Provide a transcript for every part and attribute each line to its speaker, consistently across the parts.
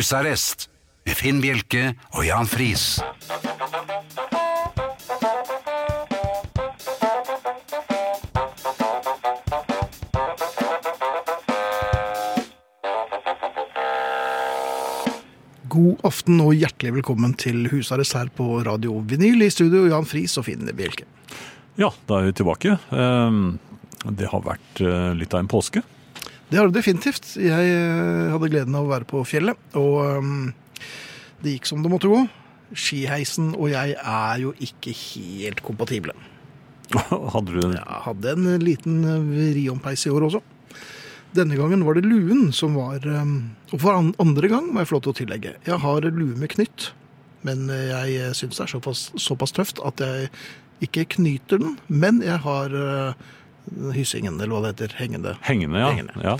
Speaker 1: Husarrest med Finn Bjelke og Jan Friis.
Speaker 2: God aften og hjertelig velkommen til husarrest her på Radio Vinyl. I studio Jan Friis og Finn Bjelke.
Speaker 3: Ja, da er vi tilbake. Ehm, Det har vært eh, litt av en påske.
Speaker 2: Det har du definitivt. Jeg eh, hadde gleden av å være på fjellet, og ehm, det gikk som det måtte gå. Skiheisen og jeg er jo ikke helt kompatible.
Speaker 3: Hadde du
Speaker 2: Jeg hadde en liten eh, vriompeis i år også. Denne gangen var det luen som var ehm, Og for an- andre gang må jeg få lov til å tillegge. Jeg har lue med knytt, men eh, jeg syns det er såpass, såpass tøft at jeg ikke knyter den. Men jeg har eh, hyssingen, eller hva det heter, hengende.
Speaker 3: hengende? Ja.
Speaker 2: Hengende.
Speaker 3: ja.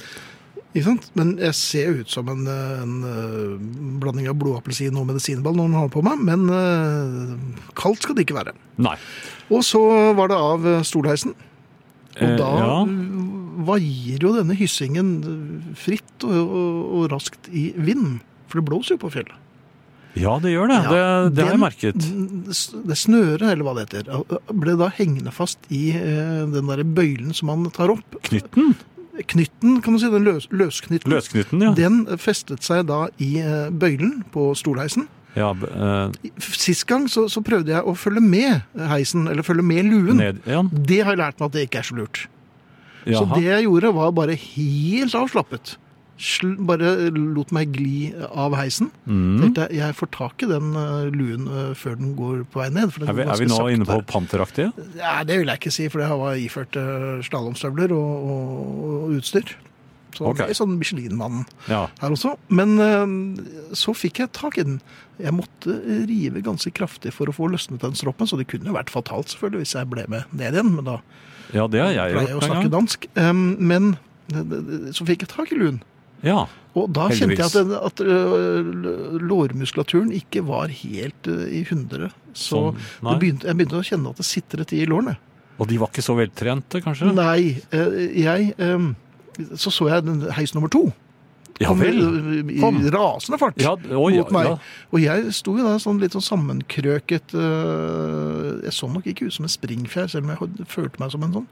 Speaker 2: Ikke sant? Men jeg ser jo ut som en, eh, en eh, blanding av blodappelsin og medisinball når den har på meg, men eh, kaldt skal det ikke være.
Speaker 3: Nei.
Speaker 2: Og så var det av eh, stolheisen. Og
Speaker 3: Eh,
Speaker 2: da
Speaker 3: ja.
Speaker 2: eh, vaier jo denne hyssingen eh, fritt og, og, og raskt i vind. For det blåser jo på fjellet.
Speaker 3: ja, det gjør det. det,
Speaker 2: Ja,
Speaker 3: det har jeg
Speaker 2: den-
Speaker 3: merket.
Speaker 2: Det snøret, eller hva det heter, ble da hengende fast i eh, den derre bøylen som man tar opp.
Speaker 3: Knytten?
Speaker 2: Knytten, kan du si. Den løs, løsknytten.
Speaker 3: Løsknytten, ja.
Speaker 2: Den festet seg da i eh, bøylen på stolheisen.
Speaker 3: ja b- eh,
Speaker 2: Sist gang så, så prøvde jeg å følge med heisen, eller følge med luen.
Speaker 3: ned igjen.
Speaker 2: Det har jeg lært meg at det ikke er så lurt. Så
Speaker 3: Jaha.
Speaker 2: det jeg gjorde var bare helt avslappet. Sl bare lot meg gli av heisen.
Speaker 3: Mm.
Speaker 2: Tenkte jeg, jeg får tak i den eh, luen eh, før den går på vei ned. For den
Speaker 3: Er
Speaker 2: går
Speaker 3: vi, er
Speaker 2: ganske
Speaker 3: vi nå
Speaker 2: sakte
Speaker 3: inne på
Speaker 2: der.
Speaker 3: panteraktige?
Speaker 2: Nei, det vil jeg ikke si, for jeg var iført eh, slalåmstøvler og, og, og utstyr. Så
Speaker 3: Ok.
Speaker 2: det er sånn Michelin-mannen
Speaker 3: Ja.
Speaker 2: her også. Men eh, så fikk jeg tak i den. Jeg måtte rive ganske kraftig for å få løsnet den stroppen, så det kunne jo vært fatalt selvfølgelig hvis jeg ble med ned igjen, men da
Speaker 3: ja, det har jeg
Speaker 2: pleier jeg å
Speaker 3: gjort en
Speaker 2: snakke
Speaker 3: gang.
Speaker 2: dansk. Em, men det- det- det- så fikk jeg tak i luen.
Speaker 3: Ja.
Speaker 2: Og da kjente jeg at,
Speaker 3: Heldigvis.
Speaker 2: den- at ø, lårmuskulaturen ikke var helt ø, i hundre. Så
Speaker 3: Sånn, nei.
Speaker 2: det begynte, jeg begynte å kjenne at det sitret i lårene.
Speaker 3: Og de var ikke så veltrente, kanskje?
Speaker 2: Nei, ø, jeg em, Så så jeg den heis nummer to.
Speaker 3: Ja vel.
Speaker 2: i- i
Speaker 3: Kom.
Speaker 2: rasende fart
Speaker 3: Ja, oi, ja,
Speaker 2: mot meg.
Speaker 3: ja.
Speaker 2: Og jeg sto jo da sånn litt sånn sammenkrøket ø, Jeg så nok ikke ut som en springfjær, selv om jeg hadde- følte meg som en sånn.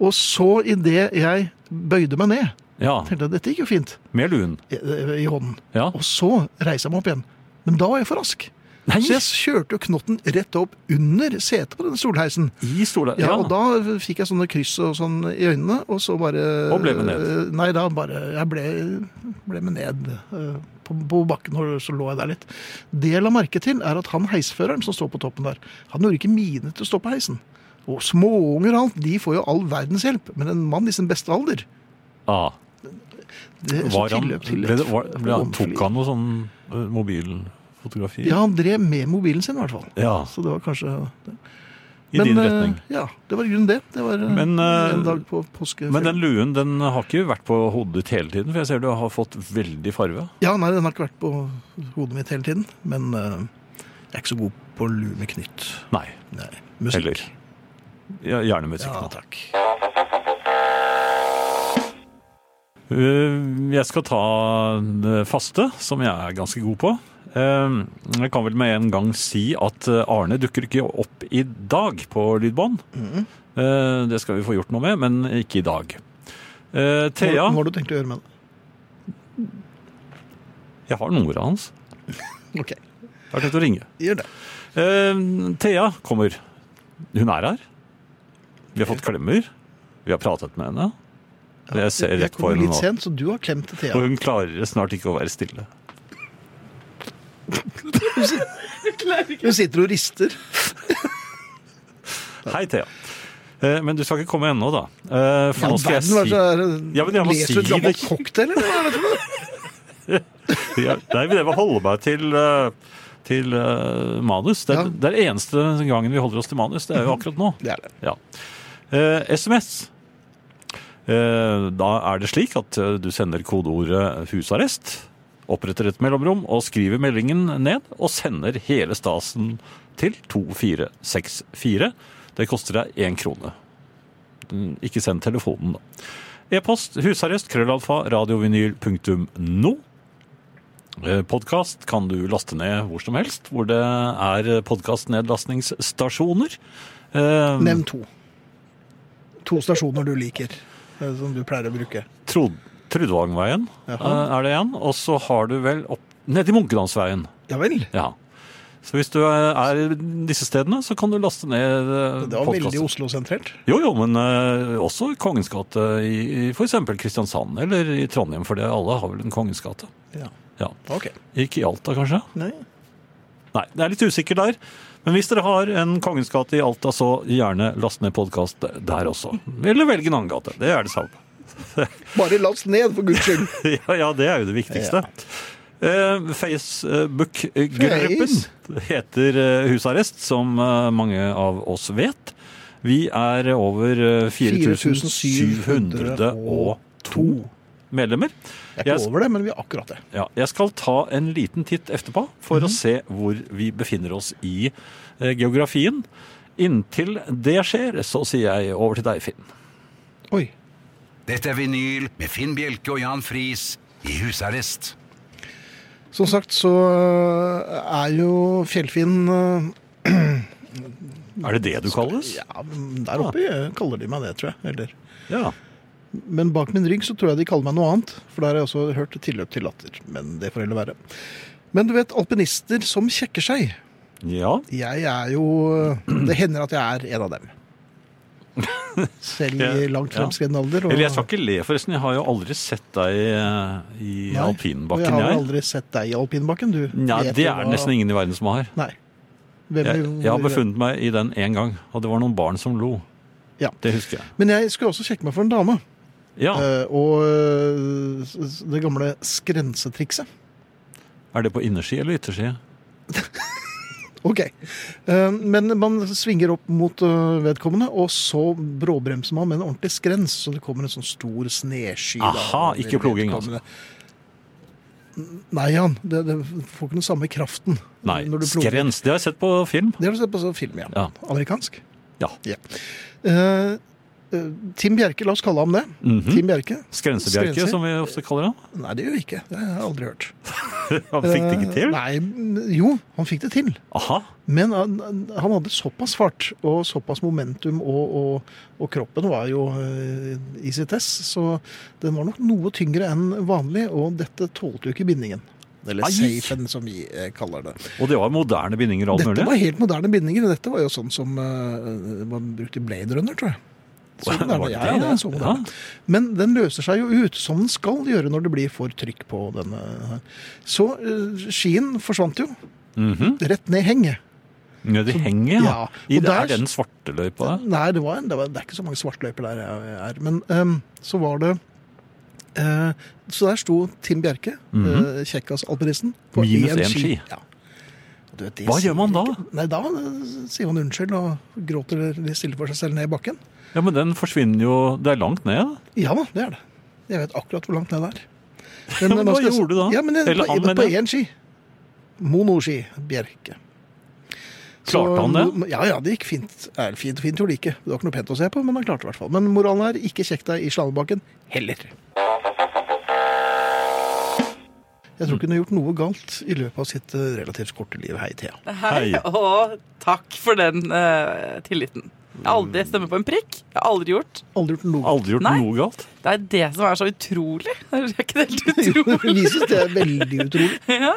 Speaker 2: Og så idet jeg bøyde meg ned,
Speaker 3: ja.
Speaker 2: tenkte jeg dette gikk jo fint
Speaker 3: Med luen.
Speaker 2: i, i hånden.
Speaker 3: Ja.
Speaker 2: Og så reiser jeg meg opp igjen. Men da var jeg for rask.
Speaker 3: Nei,
Speaker 2: Så jeg kjørte jo knotten rett opp under setet på denne stolheisen.
Speaker 3: i stolen.
Speaker 2: Ja, Og da fikk jeg sånne kryss og sånn i øynene, og så bare eh,
Speaker 3: Og ble med ned.
Speaker 2: Nei, da bare Jeg ble, ble med ned eh, på, på bakken, og så lå jeg der litt. Det jeg la merke til, er at han heisføreren som står på toppen der, han gjorde ikke mine til å stå på heisen. Og småunger og alt, de får jo all verdens hjelp. Men en mann i sin beste alder
Speaker 3: Ah.
Speaker 2: det, så
Speaker 3: Var han,
Speaker 2: tilløp til
Speaker 3: ble,
Speaker 2: et
Speaker 3: det- var, ble han,
Speaker 2: overfly-
Speaker 3: tok han noe sånn eh, mobilfotografi?
Speaker 2: Ja, han drev med mobilen sin i hvert fall.
Speaker 3: Ja,
Speaker 2: Så det var kanskje det.
Speaker 3: I din
Speaker 2: eh,
Speaker 3: retning.
Speaker 2: Ja, det var i grunnen det. Det var eh,
Speaker 3: Men, eh,
Speaker 2: en dag på påske.
Speaker 3: Men den luen den har ikke vært på hodet ditt hele tiden, for jeg ser du har fått veldig farve.
Speaker 2: Ja, nei, den har ikke vært på hodet mitt hele tiden. Men eh, jeg er ikke så god på lue med knytt.
Speaker 3: Nei.
Speaker 2: Nei, musikk.
Speaker 3: Heller. Ja, gjerne musikk.
Speaker 2: Ja,
Speaker 3: nå.
Speaker 2: takk.
Speaker 3: Uh, Jeg skal ta det faste, som jeg er ganske god på. Uh, Jeg kan vel med en gang si at uh, Arne dukker ikke opp i dag på lydbånd.
Speaker 2: Mm.
Speaker 3: Uh, Det skal vi få gjort noe med, men ikke i dag. Uh,
Speaker 2: Hva,
Speaker 3: Thea
Speaker 2: hva har du tenkt å gjøre med det?
Speaker 3: Jeg har nummeret hans.
Speaker 2: Ok,
Speaker 3: Jeg har tenkt å ringe.
Speaker 2: gjør det.
Speaker 3: Eh, Thea kommer. Hun er her. Vi har fått klemmer. Vi har pratet med henne. Jeg ser
Speaker 2: Jeg
Speaker 3: rett på
Speaker 2: kom
Speaker 3: henne
Speaker 2: litt
Speaker 3: nå.
Speaker 2: sent, så du har klemt til
Speaker 3: Og
Speaker 2: Thea.
Speaker 3: hun klarer snart ikke å være stille.
Speaker 2: Hun sitter og rister.
Speaker 3: Hei, Thea. Eh, Men du skal ikke komme ennå, da. Eh, For nå skal jeg
Speaker 2: Verden, hva
Speaker 3: si
Speaker 2: er det-
Speaker 3: Ja, men jeg må
Speaker 2: Leser du et
Speaker 3: si det.
Speaker 2: gammelt cocktail, eller? hva er det for noe?
Speaker 3: Ja, Nei, men jeg må holde meg til eh, til eh, manus. Det er,
Speaker 2: Ja.
Speaker 3: det er eneste gangen vi holder oss til manus. Det er jo akkurat nå.
Speaker 2: Det er det.
Speaker 3: Ja. Eh, SMS. Eh, da er det slik at eh, du sender kodeordet 'husarrest', oppretter et mellomrom og skriver meldingen ned, og sender hele stasen til 2464. Det koster deg én krone. Mm, Ikke send telefonen, da. E-post husarrest krøllalfa radiovinyl punktum no. Podkast Eh, kan du laste ned hvor som helst, hvor det er podkastnedlastningsstasjoner. Eh,
Speaker 2: Nevn to. To stasjoner du liker, eh, som du pleier å bruke.
Speaker 3: Trod Trudvangveien eh,
Speaker 2: Jaha.
Speaker 3: er det igjen. Og så har du vel opp Nedi Munkedalsveien.
Speaker 2: Ja vel.
Speaker 3: Ja. Så hvis du eh, er i disse stedene, så kan du laste ned
Speaker 2: Det var veldig
Speaker 3: podkasten.
Speaker 2: Oslo-sentrert.
Speaker 3: Jo, jo, men eh, også Kongens gate i, i f.eks. Kristiansand eller i Trondheim, for det alle har vel en Kongens gate.
Speaker 2: Ja.
Speaker 3: Ja.
Speaker 2: Ok.
Speaker 3: Ikke i Alta, kanskje?
Speaker 2: Nei.
Speaker 3: Nei, det er litt usikker der. Men hvis dere har en Kongens gate i Alta, så gjerne last ned podkast der også. Eller velg en annen gate. Det er det samme.
Speaker 2: Bare last ned, for guds skyld.
Speaker 3: Ja, ja det er jo det viktigste. Eh, Facebook-gruppen
Speaker 2: Face.
Speaker 3: heter eh, Husarrest, som eh, mange av oss vet. Vi er over eh, 4702 medlemmer.
Speaker 2: Jeg er
Speaker 3: Jeg
Speaker 2: ikke
Speaker 3: s-
Speaker 2: over det, men vi er akkurat det.
Speaker 3: Ja, jeg skal ta en liten titt etterpå for
Speaker 2: Mhm.
Speaker 3: å se hvor vi befinner oss i eh, geografien. Inntil det skjer, så sier jeg over til deg, Finn.
Speaker 2: Oi.
Speaker 1: Dette er vinyl med Finn Bjelke og Jan Friis i husarrest.
Speaker 2: Som sagt så eh, er jo Fjellfinn eh,
Speaker 3: Er det det du kalles?
Speaker 2: Ja, men der oppe eh, kaller de meg det, tror jeg. Eller.
Speaker 3: Ja.
Speaker 2: Men bak min rygg så tror jeg de kaller meg noe annet. For der har jeg også hørt tilløp til latter. Men det får heller være. Men du vet, alpinister som kjekker seg.
Speaker 3: ja.
Speaker 2: Jeg er jo øh, Det hender at jeg er en av dem. Selv
Speaker 3: Ja,
Speaker 2: i langt
Speaker 3: ja.
Speaker 2: fremskreden alder. og-
Speaker 3: Eller jeg skal ikke le, forresten. Jeg har jo aldri sett deg eh, i
Speaker 2: Nei, og
Speaker 3: alpinbakken,
Speaker 2: Jeg har
Speaker 3: jeg.
Speaker 2: jo aldri sett deg i alpinbakken, du.
Speaker 3: Nei,
Speaker 2: Vet
Speaker 3: det
Speaker 2: jo
Speaker 3: er
Speaker 2: hva-
Speaker 3: nesten ingen i verden som har.
Speaker 2: Nei. Hvem-
Speaker 3: Jeg, jeg har befunnet meg i den én gang, og det var noen barn som lo.
Speaker 2: Ja.
Speaker 3: Det husker jeg.
Speaker 2: Men jeg skulle også sjekke meg for en dame.
Speaker 3: Ja,
Speaker 2: Eh, og eh, s- s- det gamle skrensetrikset.
Speaker 3: Er det på innerski eller ytterski?
Speaker 2: Ok. Eh, Men man svinger opp mot eh, vedkommende, og så bråbremser man med en ordentlig skrens, så det kommer en sånn stor snesky. da,
Speaker 3: Aha,
Speaker 2: over
Speaker 3: ikke altså. ploging,
Speaker 2: vedkommende. Nei, Jan. Det, det får ikke den samme kraften.
Speaker 3: Nei,
Speaker 2: når du ploger.
Speaker 3: skrens. Det har jeg sett på film.
Speaker 2: Det har du sett på sånn film, Jan.
Speaker 3: Ja.
Speaker 2: Amerikansk.
Speaker 3: Ja.
Speaker 2: Eh, eh, Tim Bjerke, la oss kalle ham det.
Speaker 3: Mhm.
Speaker 2: Tim Bjerke?
Speaker 3: Skrensebjerke,
Speaker 2: Skrenser.
Speaker 3: som vi ofte kaller han.
Speaker 2: Nei, det gjør vi ikke. Det har jeg aldri hørt.
Speaker 3: Han fikk det ikke
Speaker 2: Eh,
Speaker 3: til.
Speaker 2: Nei, jo, han fikk det til.
Speaker 3: Aha.
Speaker 2: Men han, han hadde såpass fart og såpass momentum, og, og, og kroppen var jo eh, i sitt ess, så den var nok noe tyngre enn vanlig, og dette tålte jo ikke bindingen. Eller
Speaker 3: Ai!
Speaker 2: safen, som vi eh, kaller det.
Speaker 3: Og det var moderne bindinger og alt
Speaker 2: Dette
Speaker 3: mulig.
Speaker 2: var helt moderne bindinger, og dette var jo sånn som eh, man brukte i Blade Runner, tror jeg. Så
Speaker 3: Var
Speaker 2: moderne.
Speaker 3: det
Speaker 2: Ja, ja,
Speaker 3: det?
Speaker 2: det er så moderne. Men den løser seg jo ut, som den skal gjøre når det blir for trykk på denne. her. Så eh, skien forsvant jo,
Speaker 3: Mhm.
Speaker 2: rett ned i henget.
Speaker 3: Ja, de henger, ja.
Speaker 2: Ja,
Speaker 3: I
Speaker 2: og
Speaker 3: det,
Speaker 2: der-
Speaker 3: er det den svarte løypa der?
Speaker 2: Nei, det, var en, det, var, det er ikke så mange svartløyper der jeg er. Men ehm, så var det eh, Så der sto Tim Bjerke, mm
Speaker 3: Mhm.
Speaker 2: kjekkas-alpinisten, på
Speaker 3: Minus
Speaker 2: én
Speaker 3: én ski.
Speaker 2: Ja. Og du vet, det
Speaker 3: Hva
Speaker 2: sier
Speaker 3: gjør man da?
Speaker 2: ikke- Nei, Da eh, sier man unnskyld og gråter litt stille for seg selv ned i bakken.
Speaker 3: Ja, men den forsvinner jo Det er langt ned. da.
Speaker 2: Ja da, det er det. Jeg vet akkurat hvor langt ned det er.
Speaker 3: Ja, men
Speaker 2: man
Speaker 3: hva gjorde du da?
Speaker 2: Ja, men eh, jeg,
Speaker 3: Eller
Speaker 2: på,
Speaker 3: han,
Speaker 2: på,
Speaker 3: mener jeg.
Speaker 2: én ski. Monoski. Bjerke. Så-
Speaker 3: Klarte han det?
Speaker 2: Ja, ja, det gikk fint. Er fint, fint gjorde det ikke. Det var ikke noe pent å se på, men han klarte det i hvert fall. Men moralen er ikke kjekk deg i slalåmbakken heller. Jeg tror ikke hun har gjort noe galt i løpet av sitt eh, relativt korte liv. Hei, Thea.
Speaker 4: Hei,
Speaker 3: Hei.
Speaker 4: og takk for den eh, tilliten. Jeg har aldri stemmer på en prikk. Jeg har aldri gjort.
Speaker 2: Aldri gjort noe
Speaker 3: Aldri gjort
Speaker 4: Nei.
Speaker 3: noe galt.
Speaker 4: Det er det som er så utrolig. Er det ikke det helt
Speaker 2: Jo,
Speaker 4: utrolig?
Speaker 2: Vi synes det er veldig utrolig.
Speaker 4: ja.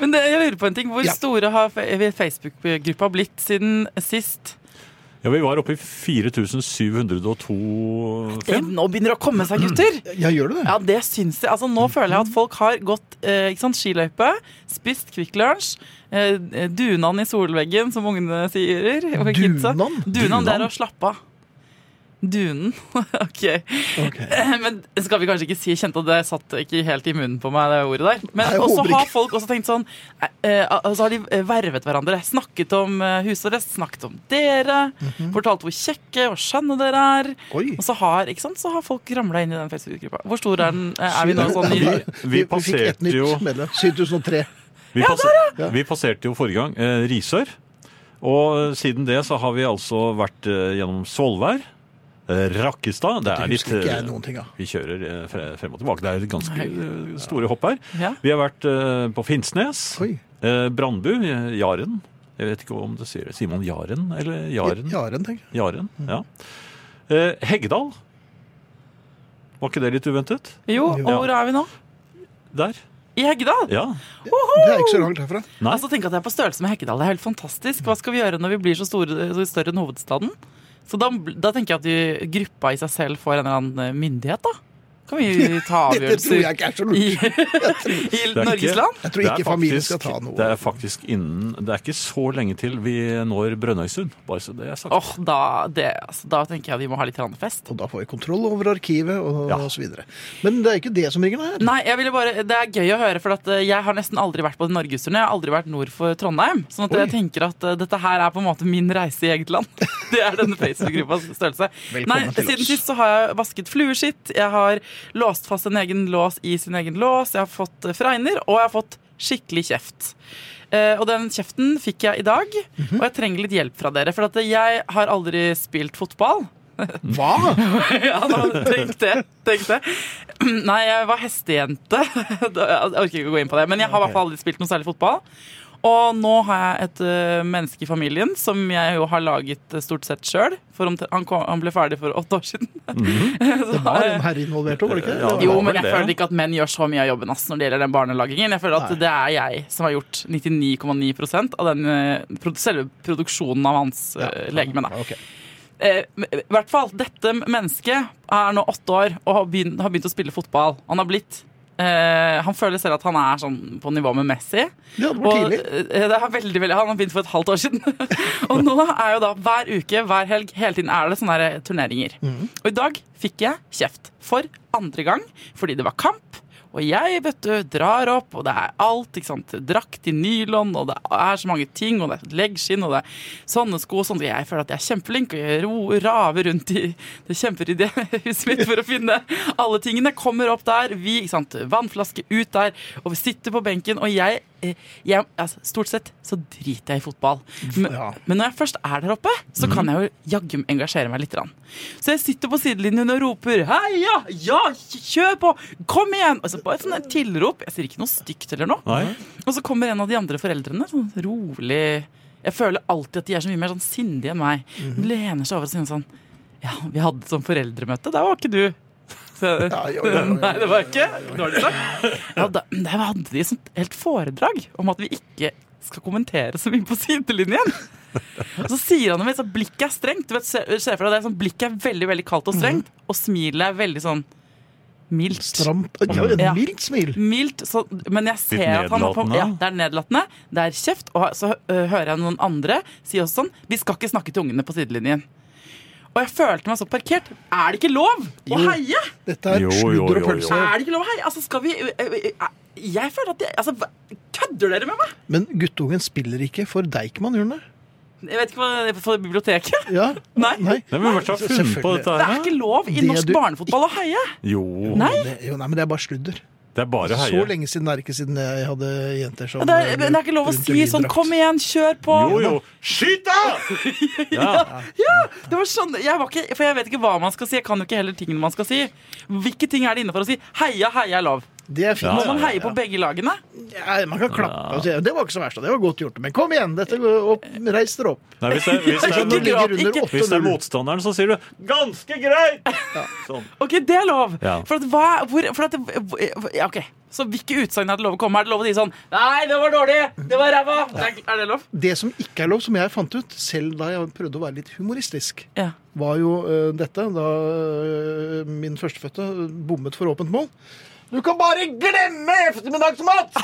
Speaker 4: Men det, jeg lurer på en ting. Hvor
Speaker 2: Ja.
Speaker 4: store har fe- Facebook-gruppa blitt siden sist?
Speaker 3: Ja, Vi var oppe i 4702
Speaker 4: Det,
Speaker 3: Finn.
Speaker 4: nå begynner det å komme seg, gutter!
Speaker 2: Ja, gjør du det?
Speaker 4: Ja, det syns jeg. Altså, nå føler jeg at folk har gått eh, ikke sant, skiløype, spist Kvikk Lunsj, eh, dunan i solveggen, som ungene sier. og kidsa.
Speaker 2: Dunan?
Speaker 4: Dunan, det
Speaker 3: Dunan?
Speaker 4: er å slappe av. Dunen. ok.
Speaker 2: Ok.
Speaker 4: Eh, Men skal vi kanskje ikke si kjente at det satt ikke helt i munnen på meg, det ordet der. Men
Speaker 2: Nei, jeg
Speaker 4: også
Speaker 2: håper
Speaker 4: har
Speaker 2: ikke.
Speaker 4: folk også tenkt sånn eh, eh, altså har de eh, vervet hverandre. Snakket om eh, husarrest, snakket om dere. Fortalt hvor kjekke og skjønne dere er.
Speaker 2: Mhm. Oi.
Speaker 4: Og så har, ikke sant, så har folk ramla inn i den Facebook-gruppa. Hvor stor er den? Eh, Er vi nå sånn
Speaker 2: Vi,
Speaker 4: i
Speaker 3: vi
Speaker 2: vi fikk
Speaker 3: passerte
Speaker 2: et nytt
Speaker 3: jo-
Speaker 2: medlem. 7003.
Speaker 3: Vi, passer,
Speaker 2: ja.
Speaker 3: vi passerte jo forrige gang eh, Risør. Og eh, siden det så har vi altså vært eh, gjennom Svolvær. eh, Rakkestad. Det
Speaker 2: Det
Speaker 3: er litt
Speaker 2: husker ikke jeg
Speaker 3: eh,
Speaker 2: noen ting av.
Speaker 3: Vi kjører eh, fre- frem og tilbake. Det er ganske eh, store hopp her.
Speaker 4: Ja.
Speaker 3: Vi har vært eh, på Finnsnes.
Speaker 2: Oi.
Speaker 3: Eh, Brandbu. eh, Jaren. Jeg vet ikke om det sier Sier man Jaren eller Jaren?
Speaker 2: Jaren, tenker jeg.
Speaker 3: Jaren, ja. Eh, Heggedal. Var ikke det litt uventet?
Speaker 4: Jo, og
Speaker 3: Ja.
Speaker 4: hvor er vi nå?
Speaker 3: Der.
Speaker 4: I Heggedal!
Speaker 3: Ja.
Speaker 2: Det er ikke så langt herfra.
Speaker 3: Nei.
Speaker 4: Altså, tenk at jeg er på størrelse med Heggedal. Det er helt fantastisk. Hva skal vi gjøre når vi blir så store, så større enn hovedstaden? Så da, bl- da tenker jeg at de, gruppa i seg selv får en eller annen eh, myndighet, da. Kan vi ta
Speaker 2: Dette tror
Speaker 4: avgjørelser
Speaker 2: jeg ikke er så
Speaker 4: i,
Speaker 2: lurt.
Speaker 4: i
Speaker 3: er
Speaker 4: Norges
Speaker 3: ikke-
Speaker 4: land?
Speaker 2: Jeg tror
Speaker 3: Det er
Speaker 2: ikke familien
Speaker 3: faktisk-
Speaker 2: skal ta noe.
Speaker 3: Det er faktisk innen Det er ikke så lenge til vi når Brønnøysund, bare så det er sagt.
Speaker 4: Åh, da, det, altså, da tenker jeg vi må ha litt grann fest.
Speaker 2: Og da får vi kontroll over arkivet og,
Speaker 3: Ja.
Speaker 2: og så videre. Men det er ikke det som ringer nå her.
Speaker 4: Nei, jeg ville bare, Det er gøy å høre, for at eh, jeg har nesten aldri vært på norgesturné. Jeg har aldri vært nord for Trondheim. sånn at
Speaker 2: Oi.
Speaker 4: jeg tenker at eh, dette her er på en måte min reise i eget land. Det er denne Facebook-gruppas størrelse.
Speaker 2: Velkommen
Speaker 4: Nei,
Speaker 2: til
Speaker 4: Siden
Speaker 2: oss.
Speaker 4: sist så har jeg vasket flueskitt, jeg har låst fast en egen lås i sin egen lås, jeg har fått eh, fregner, og jeg har fått skikkelig kjeft. Eh, og den kjeften fikk jeg i dag,
Speaker 2: Mhm.
Speaker 4: og jeg trenger litt hjelp fra dere. For at eh, jeg har aldri spilt fotball.
Speaker 2: Hva?
Speaker 4: Ja, da, tenk det. Tenk det. Nei, jeg var hestejente. Da- Jeg orker ikke å gå inn på det. Men jeg har i hvert fall aldri spilt noe særlig fotball. Og nå har jeg et ø, menneske i familien som jeg jo har laget ø, stort sett sjøl. Han, kom- han ble ferdig for åtte år siden. Så,
Speaker 2: Det var en
Speaker 4: ø,
Speaker 2: herre involvert òg, var det ikke?
Speaker 3: Ja,
Speaker 2: Mhm. det?
Speaker 3: det
Speaker 4: jo,
Speaker 3: var
Speaker 4: men
Speaker 3: vel
Speaker 4: jeg
Speaker 3: det.
Speaker 4: føler ikke at menn gjør så mye av jobben ass, når det gjelder den barnelagingen. Jeg føler at
Speaker 2: Nei.
Speaker 4: det er jeg som har gjort 99,9 av den ø, produ- selve produksjonen av hans ø, legeme. Da.
Speaker 2: Ja, ok.
Speaker 4: Eh, I hvert fall, dette mennesket er nå åtte år og har begynt, har begynt å spille fotball. Han har blitt eh, Han føler selv at han er sånn på nivå med Messi.
Speaker 2: Ja, det var
Speaker 4: Og,
Speaker 2: tidlig.
Speaker 4: eh, det er veldig, veldig, han har begynt for et halvt år siden. og nå er jo da hver uke, hver helg, hele tiden er det sånne her turneringer.
Speaker 2: Mhm.
Speaker 4: Og i dag fikk jeg kjeft for andre gang fordi det var kamp. Og jeg vet du, drar opp, og det er alt. ikke sant? Drakt i nylon, og det er så mange ting. Og det er leggskinn, og det er sånne sko. og Sånn. Jeg føler at jeg er kjempeflink, og jeg ro, raver rundt i det kjemperyddige huset mitt for å finne alle tingene. Kommer opp der, vi, ikke sant? vannflaske ut der, og vi sitter på benken. Og jeg, eh, jeg altså, Stort sett så driter jeg i fotball. Men,
Speaker 2: Ja.
Speaker 4: men når jeg først er der oppe, så kan jeg jo jaggu engasjere meg litt. grann. Så jeg sitter på sidelinjen og roper 'heia, ja, kjør på, kom igjen'. Altså, bare sånn et tilrop. Jeg sier ikke noe stygt eller noe.
Speaker 3: Nei.
Speaker 4: Og så kommer en av de andre foreldrene, sånn rolig Jeg føler alltid at de er så mye mer sånn sindige enn meg.
Speaker 2: Mhm.
Speaker 4: De lener seg over og sier sånn Ja, vi hadde sånn foreldremøte, der var ikke du. Så,
Speaker 2: Ja, jo, jo, jo.
Speaker 4: Nei, det var ikke. Dårlig sagt. Ja, da, der hadde de et sånt helt foredrag om at vi ikke skal kommentere så mye på sidelinjen. Og så sier han det med et sånt blikk er strengt. Du vet, se- ser for deg det er sånn blikket er veldig veldig kaldt og strengt, og smilet er veldig sånn mildt.
Speaker 2: Stramt. Ja, et
Speaker 4: Ja.
Speaker 2: mildt smil.
Speaker 4: Mildt, så, men jeg ser
Speaker 3: Litt
Speaker 4: at han har på,
Speaker 3: nedlatende.
Speaker 4: ja, Det er nedlatende, det er kjeft. Og så ø, hører jeg noen andre si også sånn Vi skal ikke snakke til ungene på sidelinjen. Og jeg følte meg så parkert. Er det ikke lov
Speaker 2: Jo.
Speaker 4: å heie?
Speaker 2: Dette er
Speaker 3: Jo, jo,
Speaker 2: sludder og
Speaker 3: jo, jo.
Speaker 2: pølse.
Speaker 4: Er det ikke lov å heie? Altså, skal vi ø, ø, ø, Jeg føler at jeg, altså, hva- Kødder dere med meg?
Speaker 2: Men guttungen spiller ikke for Deichman, gjør han det?
Speaker 4: Jeg vet ikke hva For biblioteket?
Speaker 2: Ja?
Speaker 4: Nei.
Speaker 2: Nei.
Speaker 3: Det er mulig å ha funnet på
Speaker 2: Selvfølgelig.
Speaker 3: dette
Speaker 4: Det
Speaker 3: her.
Speaker 4: er
Speaker 3: da.
Speaker 4: ikke lov i
Speaker 2: Det
Speaker 4: norsk
Speaker 2: du-
Speaker 4: barnefotball å heie.
Speaker 3: Jo.
Speaker 4: Nei.
Speaker 2: Det, jo, nei, men det er bare sludder.
Speaker 3: Det er bare
Speaker 2: Så
Speaker 3: høye.
Speaker 2: lenge siden det er ikke siden jeg hadde jenter som
Speaker 4: Det er, men det er ikke lov å
Speaker 2: brunte
Speaker 4: si sånn
Speaker 2: lindrakt.
Speaker 4: 'kom igjen, kjør på'.
Speaker 3: Jo, jo. Skyt, da! Ja.
Speaker 4: Det var sånn, jeg var ikke, for jeg vet ikke hva man skal si. Jeg kan jo ikke heller tingene man skal si. Hvilke ting er det inne for å si? Heia, heia er lov.
Speaker 2: Det er fint.
Speaker 4: Må man heie på begge lagene?
Speaker 2: Ja, man kan klappe. og si, det var ikke så verst, da. det var godt gjort. Men kom igjen, dette går opp, reis dere opp.
Speaker 3: Nei, hvis, det, hvis, det
Speaker 4: Ikke
Speaker 3: er, noen-
Speaker 4: gråt, ikke-
Speaker 3: hvis det er
Speaker 2: 8-0.
Speaker 3: motstanderen, så sier du 'ganske greit'! Sånn.
Speaker 4: Ok, det er lov.
Speaker 3: Ja.
Speaker 4: For at hva hvor, for at, ja, Ok, Så hvilke utsagn er det lov å komme med? Er det lov å si sånn Nei, det var dårlig! Det var ræva! Er er det lov?
Speaker 2: Det som ikke er lov, som jeg fant ut, selv da jeg prøvde å være litt humoristisk,
Speaker 4: Ja.
Speaker 2: var jo eh, dette da eh, min førstefødte bommet for åpent mål. Du kan bare glemme ettermiddagsmat!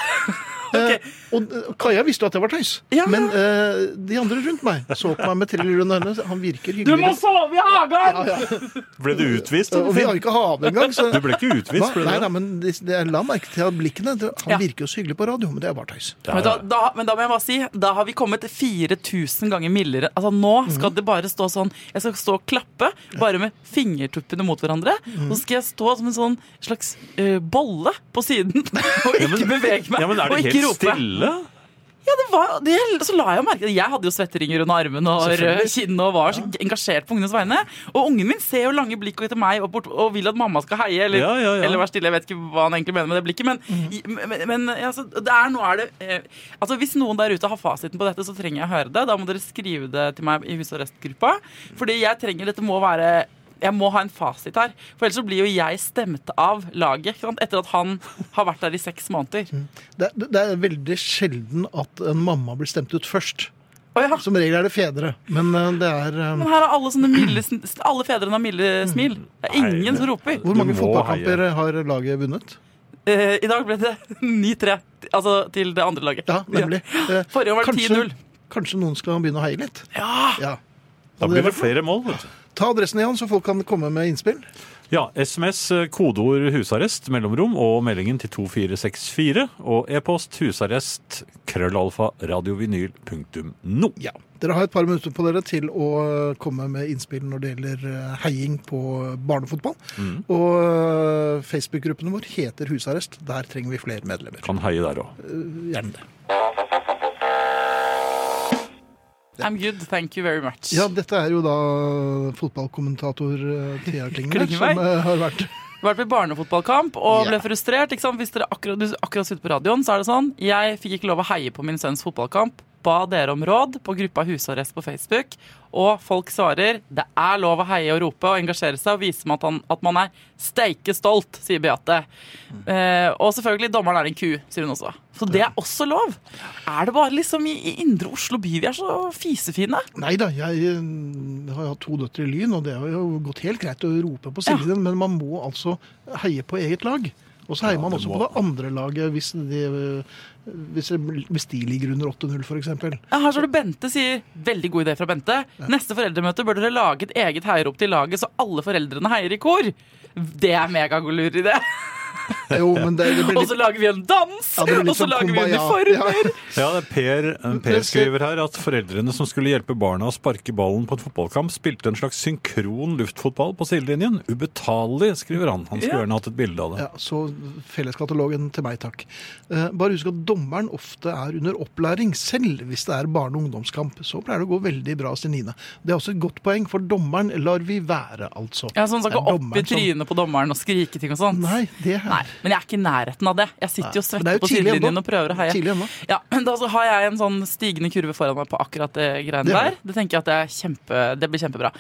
Speaker 2: Eh, og eh, Kaja visste jo at det var tøys,
Speaker 4: Ja, ja.
Speaker 2: men eh, de andre rundt meg så på meg med triller under øynene. Han virker
Speaker 4: Du må
Speaker 2: hyggelig.
Speaker 4: sove i hagen!
Speaker 3: Ble du utvist?
Speaker 2: Og vi har jo ikke hane engang, så
Speaker 3: Du ble ikke
Speaker 2: Hva?
Speaker 3: utvist, ble du?
Speaker 2: Nei,
Speaker 3: det?
Speaker 2: nei, men det, det er la merke til blikkene. Det- Han
Speaker 4: Ja.
Speaker 2: virker jo så hyggelig på radio, men det er bare tøys.
Speaker 4: Men da, da, men da må jeg bare si, da har vi kommet 4000 ganger mildere. Altså Nå skal det bare stå sånn Jeg skal stå og klappe, bare med fingertuppene mot hverandre. Og så skal jeg stå som en sånn slags eh, bolle på siden og ikke bevege meg.
Speaker 3: Ja, men er
Speaker 4: og
Speaker 3: det
Speaker 4: ikke
Speaker 3: helt
Speaker 4: rope.
Speaker 3: stille?
Speaker 4: Ja, det var, det, så la jeg jo merke det. Jeg hadde jo svetteringer under armene og
Speaker 2: Selvfølgelig.
Speaker 4: rød kinn og var så engasjert på ungenes vegne. Og ungen min ser jo lange blikk etter meg og, bort, og vil at mamma skal heie eller,
Speaker 3: Ja, ja, Mhm. ja.
Speaker 4: eller være stille. Jeg vet ikke hva han egentlig mener med det blikket. Men, men, men altså, det er, nå er det eh, Altså, Hvis noen der ute har fasiten på dette, så trenger jeg å høre det. Da må dere skrive det til meg i husarrestgruppa. Fordi jeg trenger Dette må være jeg må ha en fasit her, for ellers så blir jo jeg stemt av laget. Ikke sant? Etter at han har vært der i seks måneder.
Speaker 3: Mm.
Speaker 2: Det, er- det er veldig sjelden at en mamma blir stemt ut først.
Speaker 4: Å ja.
Speaker 2: Som regel er det fedre, men eh, det er eh,
Speaker 4: Men her har alle sånne milde sn- Alle fedrene har milde
Speaker 2: Mm.
Speaker 4: smil. Det er
Speaker 3: Nei,
Speaker 4: ingen som roper.
Speaker 2: Hvor
Speaker 3: Du
Speaker 2: mange
Speaker 3: må
Speaker 2: fotballkamper har laget vunnet?
Speaker 4: Eh, I dag ble det 9-3 altså, til det andre laget.
Speaker 2: Ja, nemlig. Eh,
Speaker 4: Forrige år var det
Speaker 2: kanskje-
Speaker 4: 10-0.
Speaker 2: Kanskje noen skal begynne å heie litt?
Speaker 4: Ja!
Speaker 2: Ja.
Speaker 3: Da blir det flere mål, vet du.
Speaker 2: Ta adressen igjen, så folk kan komme med innspill.
Speaker 3: Ja, SMS, eh, kodeord husarrest, mellomrom og meldingen til 2464. Og e-post husarrest krøllalfa radiovinyl.no.
Speaker 2: Ja. Dere har et par minutter på dere til å eh, komme med innspill når det gjelder eh, heiing på barnefotball. Og eh, Facebook-gruppene våre heter Husarrest. Der trenger vi flere medlemmer.
Speaker 3: Kan heie der òg.
Speaker 2: Gjerne det.
Speaker 4: I'm good, thank you very much.
Speaker 2: Ja, dette er jo da fotballkommentator eh, Thea Klingenberg
Speaker 4: Klingenberg.
Speaker 2: som eh, har vært
Speaker 4: Vært på barnefotballkamp og
Speaker 2: Ja.
Speaker 4: ble frustrert. Ikke sant? Hvis dere akkurat, du akkurat sitter på radioen, så er det sånn Jeg fikk ikke lov å heie på min sønns fotballkamp. Ba dere om råd på gruppa Husarrest på Facebook, og folk svarer det er lov å heie og rope og engasjere seg og vise med at, han, at man er steike stolt, sier Beate. Eh, og selvfølgelig, dommeren er en ku, sier hun også. Så det er også lov. Er det bare liksom i, i indre Oslo by vi er så fisefine?
Speaker 2: Nei da, jeg eh, har jo hatt to døtre i Lyn, og det har jo gått helt greit å rope på sidelinjen, men man må altså heie på eget lag. Og så heier man
Speaker 3: du
Speaker 2: også
Speaker 3: må.
Speaker 2: på det andre laget hvis de, eh, hvis, det- hvis de ligger under 8-0 f.eks.
Speaker 4: Ja, her står det Bente sier Veldig god idé fra Bente. Neste foreldremøte bør dere lage et eget heierop til laget, så alle foreldrene heier i kor. Det er megagolur idé.
Speaker 2: Jo, men det, det blir
Speaker 4: Og
Speaker 2: litt
Speaker 4: så lager vi en dans!
Speaker 2: Ja, det blir litt
Speaker 4: og så
Speaker 2: sånn
Speaker 4: lager vi
Speaker 2: kumbaya.
Speaker 4: uniformer!
Speaker 3: Ja, det er per, eh, per
Speaker 2: Men skal-
Speaker 3: skriver her at foreldrene som skulle hjelpe barna å sparke ballen på en fotballkamp, spilte en slags synkron luftfotball på sidelinjen. Ubetalelig, skriver han. Han skulle
Speaker 4: Ja.
Speaker 3: gjerne hatt et bilde av det.
Speaker 2: Ja, så felleskatalogen til meg, takk. Eh, Bare husk at dommeren ofte er under opplæring selv hvis det er barne- og ungdomskamp. Så pleier det å gå veldig bra, Senine. Det er også et godt poeng, for dommeren lar vi være, altså.
Speaker 4: Ja, sånn som
Speaker 2: Det er
Speaker 4: skal opp i
Speaker 2: dommeren som-
Speaker 4: trynet på dommeren og skrike ting og sånt.
Speaker 2: Nei, det
Speaker 4: Nei,
Speaker 2: her.
Speaker 4: men jeg er ikke i nærheten av det.
Speaker 2: Nei,
Speaker 4: Jeg sitter jo og
Speaker 2: men det er
Speaker 4: svetter
Speaker 2: jo
Speaker 4: på
Speaker 2: tidlig ennå.
Speaker 4: sidelinjen og prøver å heie.
Speaker 2: Tidlig ennå.
Speaker 4: Ja, men da så har jeg en sånn stigende kurve foran meg på akkurat det greiene
Speaker 2: Det har
Speaker 4: der. Det tenker jeg at det, er kjempe, det blir kjempebra.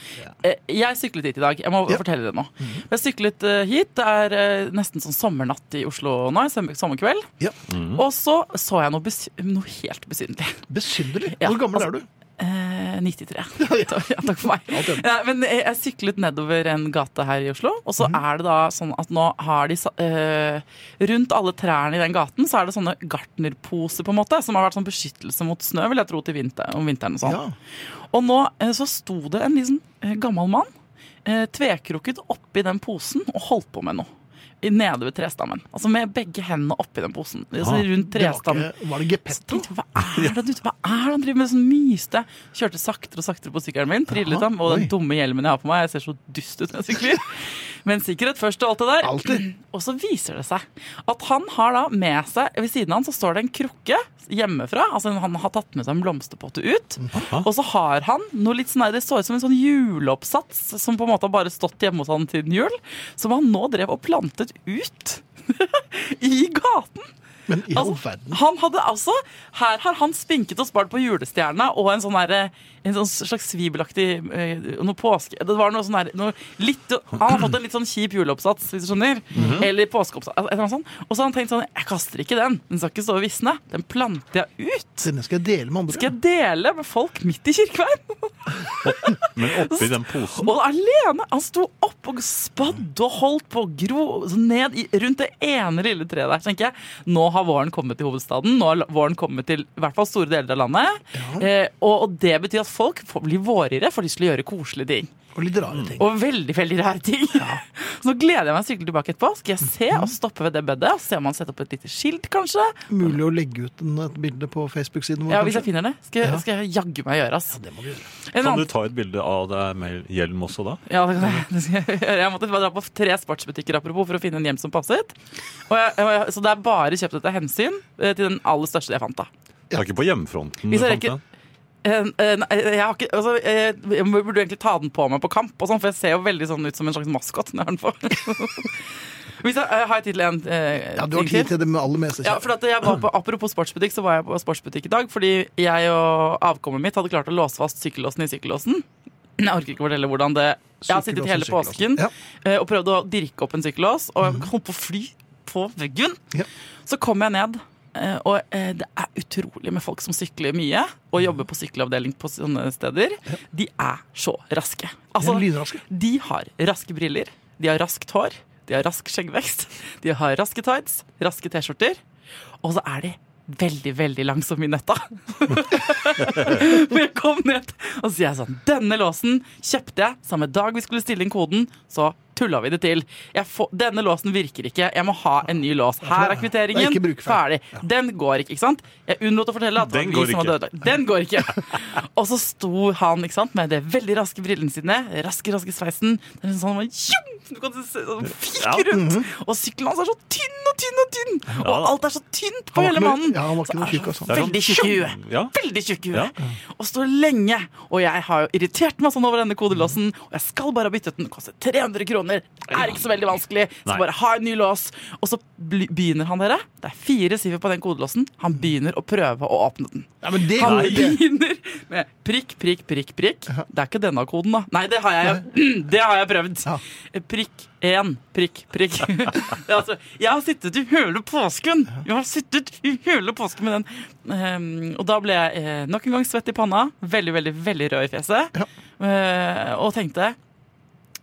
Speaker 4: Eh, Jeg syklet hit i dag. Jeg må
Speaker 2: Ja. Mhm.
Speaker 4: fortelle det nå. Jeg syklet eh, hit. Det er eh, nesten sånn sommernatt i Oslo nå, en sommer- sommerkveld.
Speaker 2: Ja.
Speaker 4: Og så så jeg noe, besy noe helt besynderlig.
Speaker 2: Besynderlig.
Speaker 4: Ja,
Speaker 2: Hvor gammel
Speaker 4: altså-
Speaker 2: er du?
Speaker 4: Eh, 93. Takk- Ja, takk for meg.
Speaker 2: Alt hjemme.
Speaker 4: Nei, men eh, jeg, jeg syklet nedover en gate her i Oslo, og så
Speaker 2: Mhm.
Speaker 4: er det da sånn at nå har de sa- eh, Rundt alle trærne i den gaten så er det sånne gartnerposer, på en måte, som har vært sånn beskyttelse mot snø, vil jeg tro, til vinter, om vinteren og sånn.
Speaker 2: Ja.
Speaker 4: Og nå eh, så sto det en liksom, eh, gammel mann eh, tvekrukket oppi den posen og holdt på med noe. I- Nede ved trestammen. Altså med begge hendene oppi den posen. Altså
Speaker 3: Ah,
Speaker 4: rundt
Speaker 2: Det var,
Speaker 4: trestammen.
Speaker 2: ikke, var det Geppetto?
Speaker 4: Tenkte, hva er det du hva er det han driver med? Sånn myste. Kjørte saktere og saktere på sykkelen min.
Speaker 2: Jaha,
Speaker 4: Trillet ham. Og
Speaker 2: oi.
Speaker 4: den dumme hjelmen jeg har på meg. Jeg ser så dust ut når jeg sykler. Men sikkerhet først og alt det der.
Speaker 2: Alltid.
Speaker 4: Og så viser det seg at han har da med seg Ved siden av han så står det en krukke hjemmefra. Altså han har tatt med seg en blomsterpotte ut. Og så har han noe litt sånn her, Det står ut som en sånn juleoppsats som på en måte har bare stått hjemme hos han siden jul. Som han nå drev og plantet ut i gaten.
Speaker 2: Men i all
Speaker 4: Altså,
Speaker 2: verden.
Speaker 4: han hadde altså, her har han spinket og spart på julestjerna og en sånn herre- en sånn slags svibelaktig eh, noe påske... Det var noe sånn her, noe litt, Han har fått en litt sånn kjip juleoppsats, hvis du skjønner.
Speaker 2: Mhm.
Speaker 4: Eller påskeoppsats. altså, Et eller annet sånt. Og så har han tenkt sånn Jeg kaster ikke den. Den skal ikke stå og visne. Den planter jeg ut.
Speaker 2: Denne skal jeg dele med andre.
Speaker 4: Skal jeg dele med folk midt i kirkeveien?
Speaker 3: Men oppi den posen
Speaker 4: Og alene! Han sto opp og spadd og holdt på å gro så ned i, rundt det ene lille treet der. Så tenker jeg, Nå har våren kommet til hovedstaden. Nå har la- våren kommet til i hvert fall store deler av landet. Eh, og, og det betyr at folk får, blir vårigere, får lyst til å gjøre koselige ting.
Speaker 2: Og litt rare ting.
Speaker 4: Og veldig, veldig rare ting. Så nå gleder jeg meg å sykle tilbake etterpå. Skal jeg se og stoppe ved det bedet? Og se om han setter opp et lite skilt, kanskje?
Speaker 2: Mulig å legge ut en, et bilde på Facebook-siden vår,
Speaker 4: Ja, Hvis jeg
Speaker 2: kanskje?
Speaker 4: finner det, skal, jeg- skal jeg jaggu meg gjøre. ass.
Speaker 2: Det må du gjøre.
Speaker 4: En
Speaker 3: Kan
Speaker 4: annen-
Speaker 3: du ta et bilde av deg med hjelm også da?
Speaker 4: Ja, det kan jeg. Det skal jeg gjøre. Jeg måtte bare dra på tre sportsbutikker apropos for å finne en hjem som passet. Og jeg, og jeg, så det er bare kjøpt etter hensyn eh, til den aller største jeg fant. da
Speaker 3: Det er ikke på hjemmefronten.
Speaker 4: Hvis jeg
Speaker 3: fant
Speaker 4: rekker-
Speaker 3: den.
Speaker 4: Eh, eh, nei, jeg har ikke altså, eh, Jeg burde egentlig ta den på meg på kamp, og sånn, for jeg ser jo veldig sånn ut som en slags maskot når jeg har den på. Hvis jeg, eh, har jeg tid til en eh,
Speaker 2: Ja, du har
Speaker 4: ting
Speaker 2: tid til det med aller meste.
Speaker 4: Ja, for at jeg var på, Apropos sportsbutikk, så var jeg på sportsbutikk i dag fordi jeg og avkommet mitt hadde klart å låse fast sykkellåsen i sykkellåsen. Jeg orker ikke fortelle hvordan det Jeg har sittet hele
Speaker 2: Sykkellåsen, Mhm.
Speaker 4: påsken
Speaker 2: sykkellåsen.
Speaker 4: eh, og prøvd å dirke opp en sykkellås, og jeg holdt på å fly på veggen.
Speaker 2: Ja.
Speaker 4: Så kom jeg ned, eh, og eh, det er utrolig med folk som sykler mye, og jobber på sykkelavdeling på sånne steder. De er så raske.
Speaker 2: De
Speaker 4: Altså,
Speaker 2: er lynraske.
Speaker 4: de har raske briller, de har raskt hår, de har rask skjeggvekst, de har raske tights, raske T-skjorter, og så er de veldig, veldig langsomme i netta. For jeg kom ned, og så sier jeg sånn Denne låsen kjøpte jeg samme dag vi skulle stille inn koden, så tulla vi det til. Jeg får, denne låsen virker ikke, jeg må ha en ny lås. Her er
Speaker 2: Det er
Speaker 4: kvitteringen.
Speaker 2: ikke brukfeil.
Speaker 4: Ferdig. Den går ikke, ikke sant? Jeg unnlot å fortelle at det
Speaker 3: Den
Speaker 4: var
Speaker 3: går
Speaker 4: vi som
Speaker 3: ikke.
Speaker 4: hadde ødelagt. Den går ikke. Og så sto han ikke sant, med det veldig raske brillene sine, raske, raske sveisen. Det er sånn, han var tjum! du kan se, sånn,
Speaker 3: Ja.
Speaker 4: fyker rundt.
Speaker 2: mhm.
Speaker 4: Og sykkelen hans er så tynn og tynn og tynn!
Speaker 3: Ja
Speaker 4: Og
Speaker 3: da.
Speaker 4: alt er så tynt på
Speaker 2: Han var
Speaker 4: hele
Speaker 2: ikke noe-
Speaker 4: mannen.
Speaker 2: ja, han var ikke
Speaker 4: Så
Speaker 2: noe
Speaker 4: er
Speaker 2: tjukk,
Speaker 4: så
Speaker 2: altså.
Speaker 4: Veldig tjukk i huet
Speaker 3: Ja.
Speaker 4: veldig tjukk i huet. Og står lenge. Og jeg har jo irritert meg sånn over denne kodelåsen. Og jeg skal bare ha byttet den. Koster 300 kroner. Det er ikke så veldig vanskelig.
Speaker 3: Nei.
Speaker 4: Så bare ha en ny lås. Og så bli- begynner han, dere. Det er fire siffer på den kodelåsen. Han begynner å prøve å åpne den.
Speaker 2: Ja, men det,
Speaker 4: Han
Speaker 2: det,
Speaker 4: begynner med prikk, prikk, prikk, prikk. Det er ikke denne koden, da. Nei, det har jeg, det har jeg prøvd.
Speaker 2: Ja.
Speaker 4: Prikk én, prikk, prikk. Det er altså, jeg har sittet i hele påsken! Jeg har sittet i hele påsken med den. Ehm, og da ble jeg eh, nok en gang svett i panna. Veldig, veldig, veldig rød i fjeset.
Speaker 2: Ja.
Speaker 4: Eh, og tenkte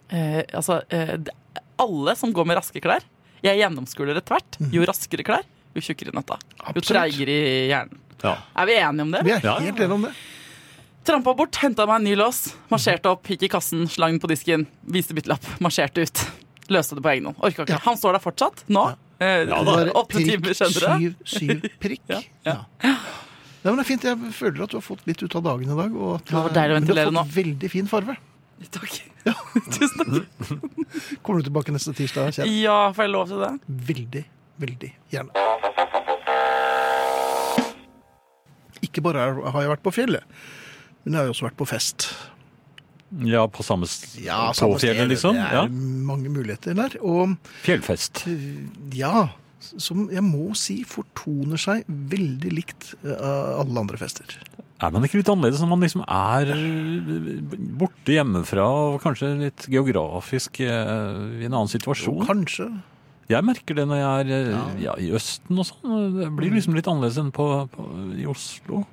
Speaker 4: eh, Altså, eh, det- alle som går med raske klær Jeg gjennomskuler det tvert. Jo raskere klær, jo tjukkere nøtta. Jo
Speaker 2: Mhm. Absolutt.
Speaker 4: treigere i hjernen.
Speaker 3: Ja.
Speaker 4: Er vi enige om det?
Speaker 2: vi er
Speaker 3: Ja, ja.
Speaker 2: helt enige om det.
Speaker 4: Trampa bort, henta meg en ny lås, marsjerte opp, gikk i kassen, slang på disken, viste byttelapp, marsjerte ut. Løste det på egen hånd. Orka ikke.
Speaker 2: Ja.
Speaker 4: Han står der fortsatt, nå.
Speaker 3: Ja
Speaker 4: Eh,
Speaker 2: Det var
Speaker 4: åtte timer senere.
Speaker 2: Syv, syv prikk. ja. Nei, men det er fint. Jeg føler at du har fått litt ut av dagen i dag. Og at,
Speaker 4: Det var deilig å
Speaker 2: men du har
Speaker 4: ventilere
Speaker 2: fått veldig fin farve.
Speaker 4: Takk. Tusen takk.
Speaker 2: Kommer du tilbake neste tirsdag? Kjell?
Speaker 4: Ja, får jeg lov til det?
Speaker 2: Veldig, veldig gjerne. Ikke bare er- har jeg vært på fjellet, men jeg har jo også vært på fest.
Speaker 3: ja, på samme, s- på
Speaker 2: samme sted.
Speaker 3: fjellet, liksom.
Speaker 2: Det er
Speaker 3: Ja.
Speaker 2: mange muligheter der. Og
Speaker 3: Fjellfest.
Speaker 2: eh, ja, som jeg må si fortoner seg veldig likt eh, alle andre fester.
Speaker 3: Er man ikke litt annerledes når man liksom er eh, borte hjemmefra og kanskje litt geografisk eh, i en annen situasjon?
Speaker 2: Kanskje.
Speaker 3: Jeg merker det når jeg er eh, ja, i Østen og sånn. Det blir liksom litt annerledes enn på, på, i Oslo.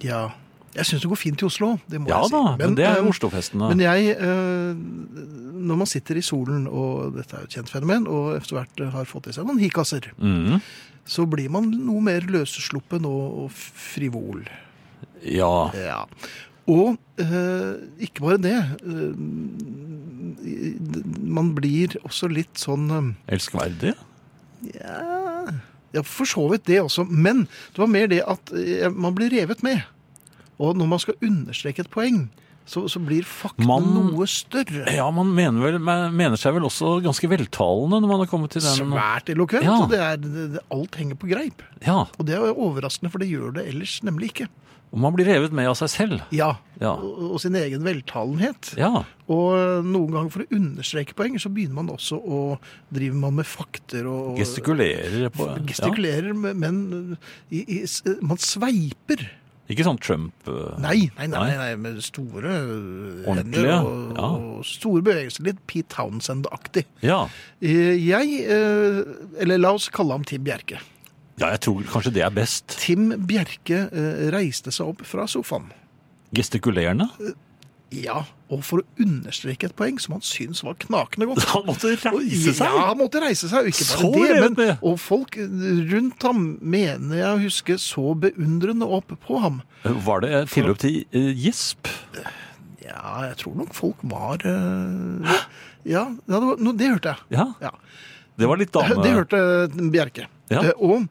Speaker 2: Ja. Jeg syns det går fint i Oslo, det må
Speaker 3: Ja
Speaker 2: jeg si.
Speaker 3: da, men det er
Speaker 2: eh,
Speaker 3: jo Oslofestene.
Speaker 2: Men jeg, eh, når man sitter i solen, og dette er jo et kjent fenomen, og etter hvert eh, har fått i seg noen hikasser,
Speaker 3: Mhm.
Speaker 2: så blir man noe mer løssluppen og, og frivol.
Speaker 3: Ja.
Speaker 2: Ja. Og eh, ikke bare det. eh, i- d- man blir også litt sånn eh,
Speaker 3: Elskverdig.
Speaker 2: Ja, ja for så vidt det også. Men det var mer det at eh, man blir revet med. Og når man skal understreke et poeng, så, så blir fakten
Speaker 3: Man- Eh,
Speaker 2: noe større.
Speaker 3: Ja, man mener, vel, man mener seg vel også ganske veltalende når man har kommet til den
Speaker 2: Svært eloquent.
Speaker 3: Ja.
Speaker 2: Og det er, det, det, alt henger på greip.
Speaker 3: Ja,
Speaker 2: Og det er jo overraskende, for det gjør det ellers nemlig ikke.
Speaker 3: og man blir revet med av seg selv.
Speaker 2: Ja.
Speaker 3: Ja.
Speaker 2: Og, og sin egen veltalenhet.
Speaker 3: Ja.
Speaker 2: Og eh, noen ganger for å understreke poeng, så begynner man også å drive man med fakter og og-
Speaker 3: Gestikulerer på ja.
Speaker 2: Gestikulerer, men- men i, i, s- man sveiper.
Speaker 3: Ikke sånn Trump eh,
Speaker 2: Nei, nei, nei, nei, nei med store øh, hender
Speaker 3: Ordentlige,
Speaker 2: og,
Speaker 3: ja.
Speaker 2: og store bevegelser. Litt Pete Townsend-aktig.
Speaker 3: Ja.
Speaker 2: Eh, Jeg, eh, eller la oss kalle ham Tim Bjerke.
Speaker 3: ja, jeg tror kanskje det er best.
Speaker 2: Tim Bjerke eh, reiste seg opp fra sofaen.
Speaker 3: Gestikulerende.
Speaker 2: Ja, og for å understreke et poeng som han syntes var knakende godt.
Speaker 3: Han måtte reise seg!
Speaker 2: Ja, han måtte reise seg. Og ikke bare
Speaker 3: Så
Speaker 2: det,
Speaker 3: revet
Speaker 2: men,
Speaker 3: med.
Speaker 2: og folk rundt ham mener jeg å huske så beundrende opp på ham.
Speaker 3: Var det tilløp til eh, gisp?
Speaker 2: Ja, jeg tror nok folk var eh, Ja, ja, det, var, no, det hørte jeg.
Speaker 3: Ja,
Speaker 2: Ja.
Speaker 3: det var litt dame...
Speaker 2: Det hørte Bjerke.
Speaker 3: eh, Ja.
Speaker 2: Eh, Og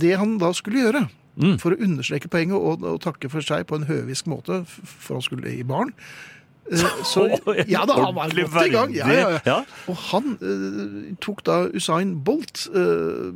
Speaker 2: det han da skulle gjøre
Speaker 3: Mm.
Speaker 2: for å understreke poenget og, og takke for seg på en høvisk måte, f- for han skulle i baren, Eh, Så,
Speaker 3: Å,
Speaker 2: ja da, han var
Speaker 3: ordentlig
Speaker 2: godt i gang. Ja, ja, ja.
Speaker 3: verdig. Ja.
Speaker 2: Og han eh, tok da Usain Bolt eh,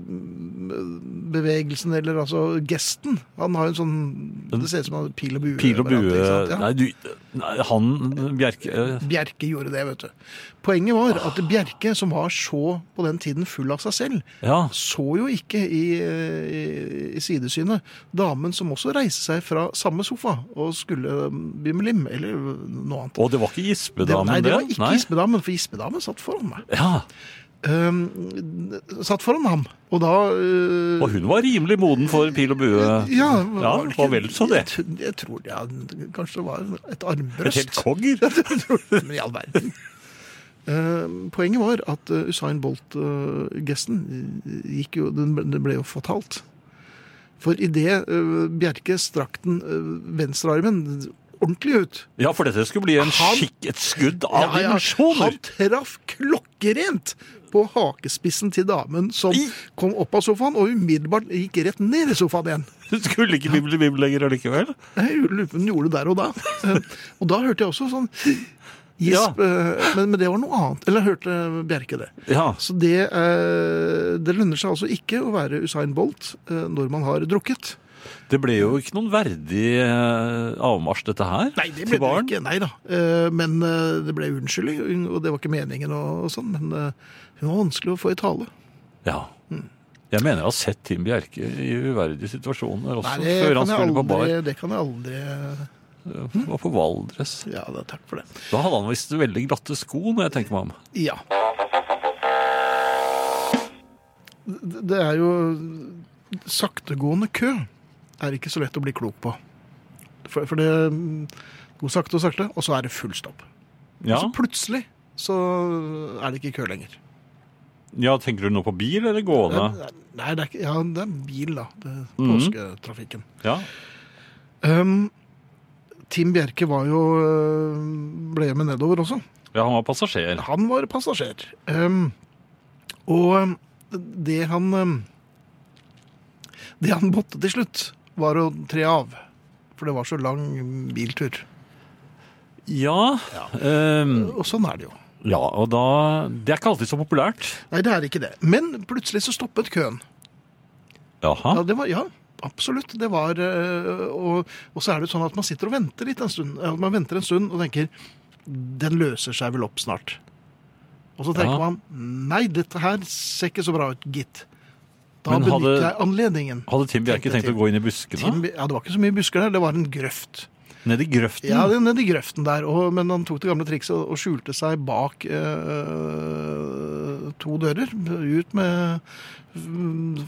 Speaker 2: bevegelsen, eller altså gesten. Han har jo en sånn Det ser ut som han har pil og bue.
Speaker 3: Pil og
Speaker 2: hverandre,
Speaker 3: bue
Speaker 2: ikke sant? Ja.
Speaker 3: Nei, du nei, Han Bjerke eh,
Speaker 2: Bjerke gjorde det, vet du. Poenget var at Bjerke, som var så på den tiden full av seg selv,
Speaker 3: Ja.
Speaker 2: så jo ikke i, eh, i, i sidesynet damen som også reiste seg fra samme sofa og skulle eh, bimmelim, eller noe annet.
Speaker 3: Og det var ikke
Speaker 2: Det,
Speaker 3: Gispedamen,
Speaker 2: nei, det var ikke
Speaker 3: Nei.
Speaker 2: Gispedamen, for Gispedamen satt foran meg.
Speaker 3: Ja.
Speaker 2: Ehm, satt foran ham, og da eh,
Speaker 3: Og hun var rimelig moden for pil og bue.
Speaker 2: ja,
Speaker 3: ja
Speaker 2: var det ikke-
Speaker 3: Og vel så det.
Speaker 2: Jeg, tr- jeg tror det, ja, kanskje det var et
Speaker 3: Et helt
Speaker 2: armbrøst.
Speaker 3: kogger.
Speaker 2: Men i all verden. Eh, poenget var at eh, Usain Bolt-gesten eh, gikk jo den, den ble jo fatalt. For idet uh, Bjerke strakk den eh, venstrearmen ordentlig ut
Speaker 3: Ja, for dette skulle bli en
Speaker 2: Han-
Speaker 3: skikk, et skudd av
Speaker 2: Ja, ja,
Speaker 3: dimensjoner.
Speaker 2: Han traff klokkerent på hakespissen til damen som
Speaker 3: I-
Speaker 2: kom opp av sofaen og umiddelbart gikk rett ned i sofaen igjen.
Speaker 3: Du skulle ikke bli bli- bli lenger allikevel.
Speaker 2: Jeg lurer på om hun gjorde det der og da. Eh, Og da hørte jeg også sånn gisp, eh, men, men det var noe annet. Eller jeg hørte Bjerke det.
Speaker 3: Ja.
Speaker 2: Så det, eh, det lønner seg altså ikke å være Usain Bolt eh, når man har drukket.
Speaker 3: Det ble jo ikke noen verdig eh, avmarsj, dette her. til
Speaker 2: Til
Speaker 3: barn.
Speaker 2: barn. Nei da. Eh, Men eh, det ble unnskyldning, og det var ikke meningen og og sånn. Men eh, hun var vanskelig å få i tale.
Speaker 3: Ja. Jeg mener jeg har sett Tim Bjerke i uverdige situasjoner også,
Speaker 2: Nei, det,
Speaker 3: før han
Speaker 2: kan jeg
Speaker 3: skulle på bar.
Speaker 2: aldri, det kan jeg aldri
Speaker 3: Var på Valdres.
Speaker 2: Ja, da, takk for det.
Speaker 3: Da hadde han visst veldig glatte sko, når jeg tenker meg om.
Speaker 2: Ja. Det det er jo saktegående kø. Er ikke så lett å bli klok på. For, for det går sakte og sakte, og så er det full stopp.
Speaker 3: Ja,
Speaker 2: Så plutselig så er det ikke kø lenger.
Speaker 3: ja tenker du nå på bil eller gående?
Speaker 2: Nei, det er, ikke, ja, det er bil, da. Det, påsketrafikken.
Speaker 3: Ja.
Speaker 2: Um, Tim Bjerke var jo øh, ble med nedover også.
Speaker 3: ja, han var passasjer.
Speaker 2: Han var passasjer. Um, og um, det han um, Det han måtte til slutt, var å tre av. For det var så lang biltur.
Speaker 3: Ja. ehm,
Speaker 2: Og sånn er det jo.
Speaker 3: ja, og da Det er ikke alltid så populært.
Speaker 2: Nei, det er ikke det. Men plutselig så stoppet køen. Ja,
Speaker 3: Jaha.
Speaker 2: det var, ja absolutt. Det var, øh, og, og så er det sånn at man sitter og venter litt en stund. Ja, Man venter en stund og tenker den løser seg vel opp snart. Og så tenker
Speaker 3: Ja.
Speaker 2: man nei, dette her ser ikke så bra ut, gitt. Da
Speaker 3: Men hadde-
Speaker 2: benytter jeg anledningen.
Speaker 3: Hadde Tim Bjerke
Speaker 2: Tenkte
Speaker 3: tenkt å
Speaker 2: Tim.
Speaker 3: gå inn i buskene?
Speaker 2: Tim, ja, det var ikke så mye busker der, det var en grøft.
Speaker 3: Ned i grøften?
Speaker 2: Ja, det er nede i grøften der, og, men han tok det gamle trikset og, og skjulte seg bak eh, to dører, ut med mm,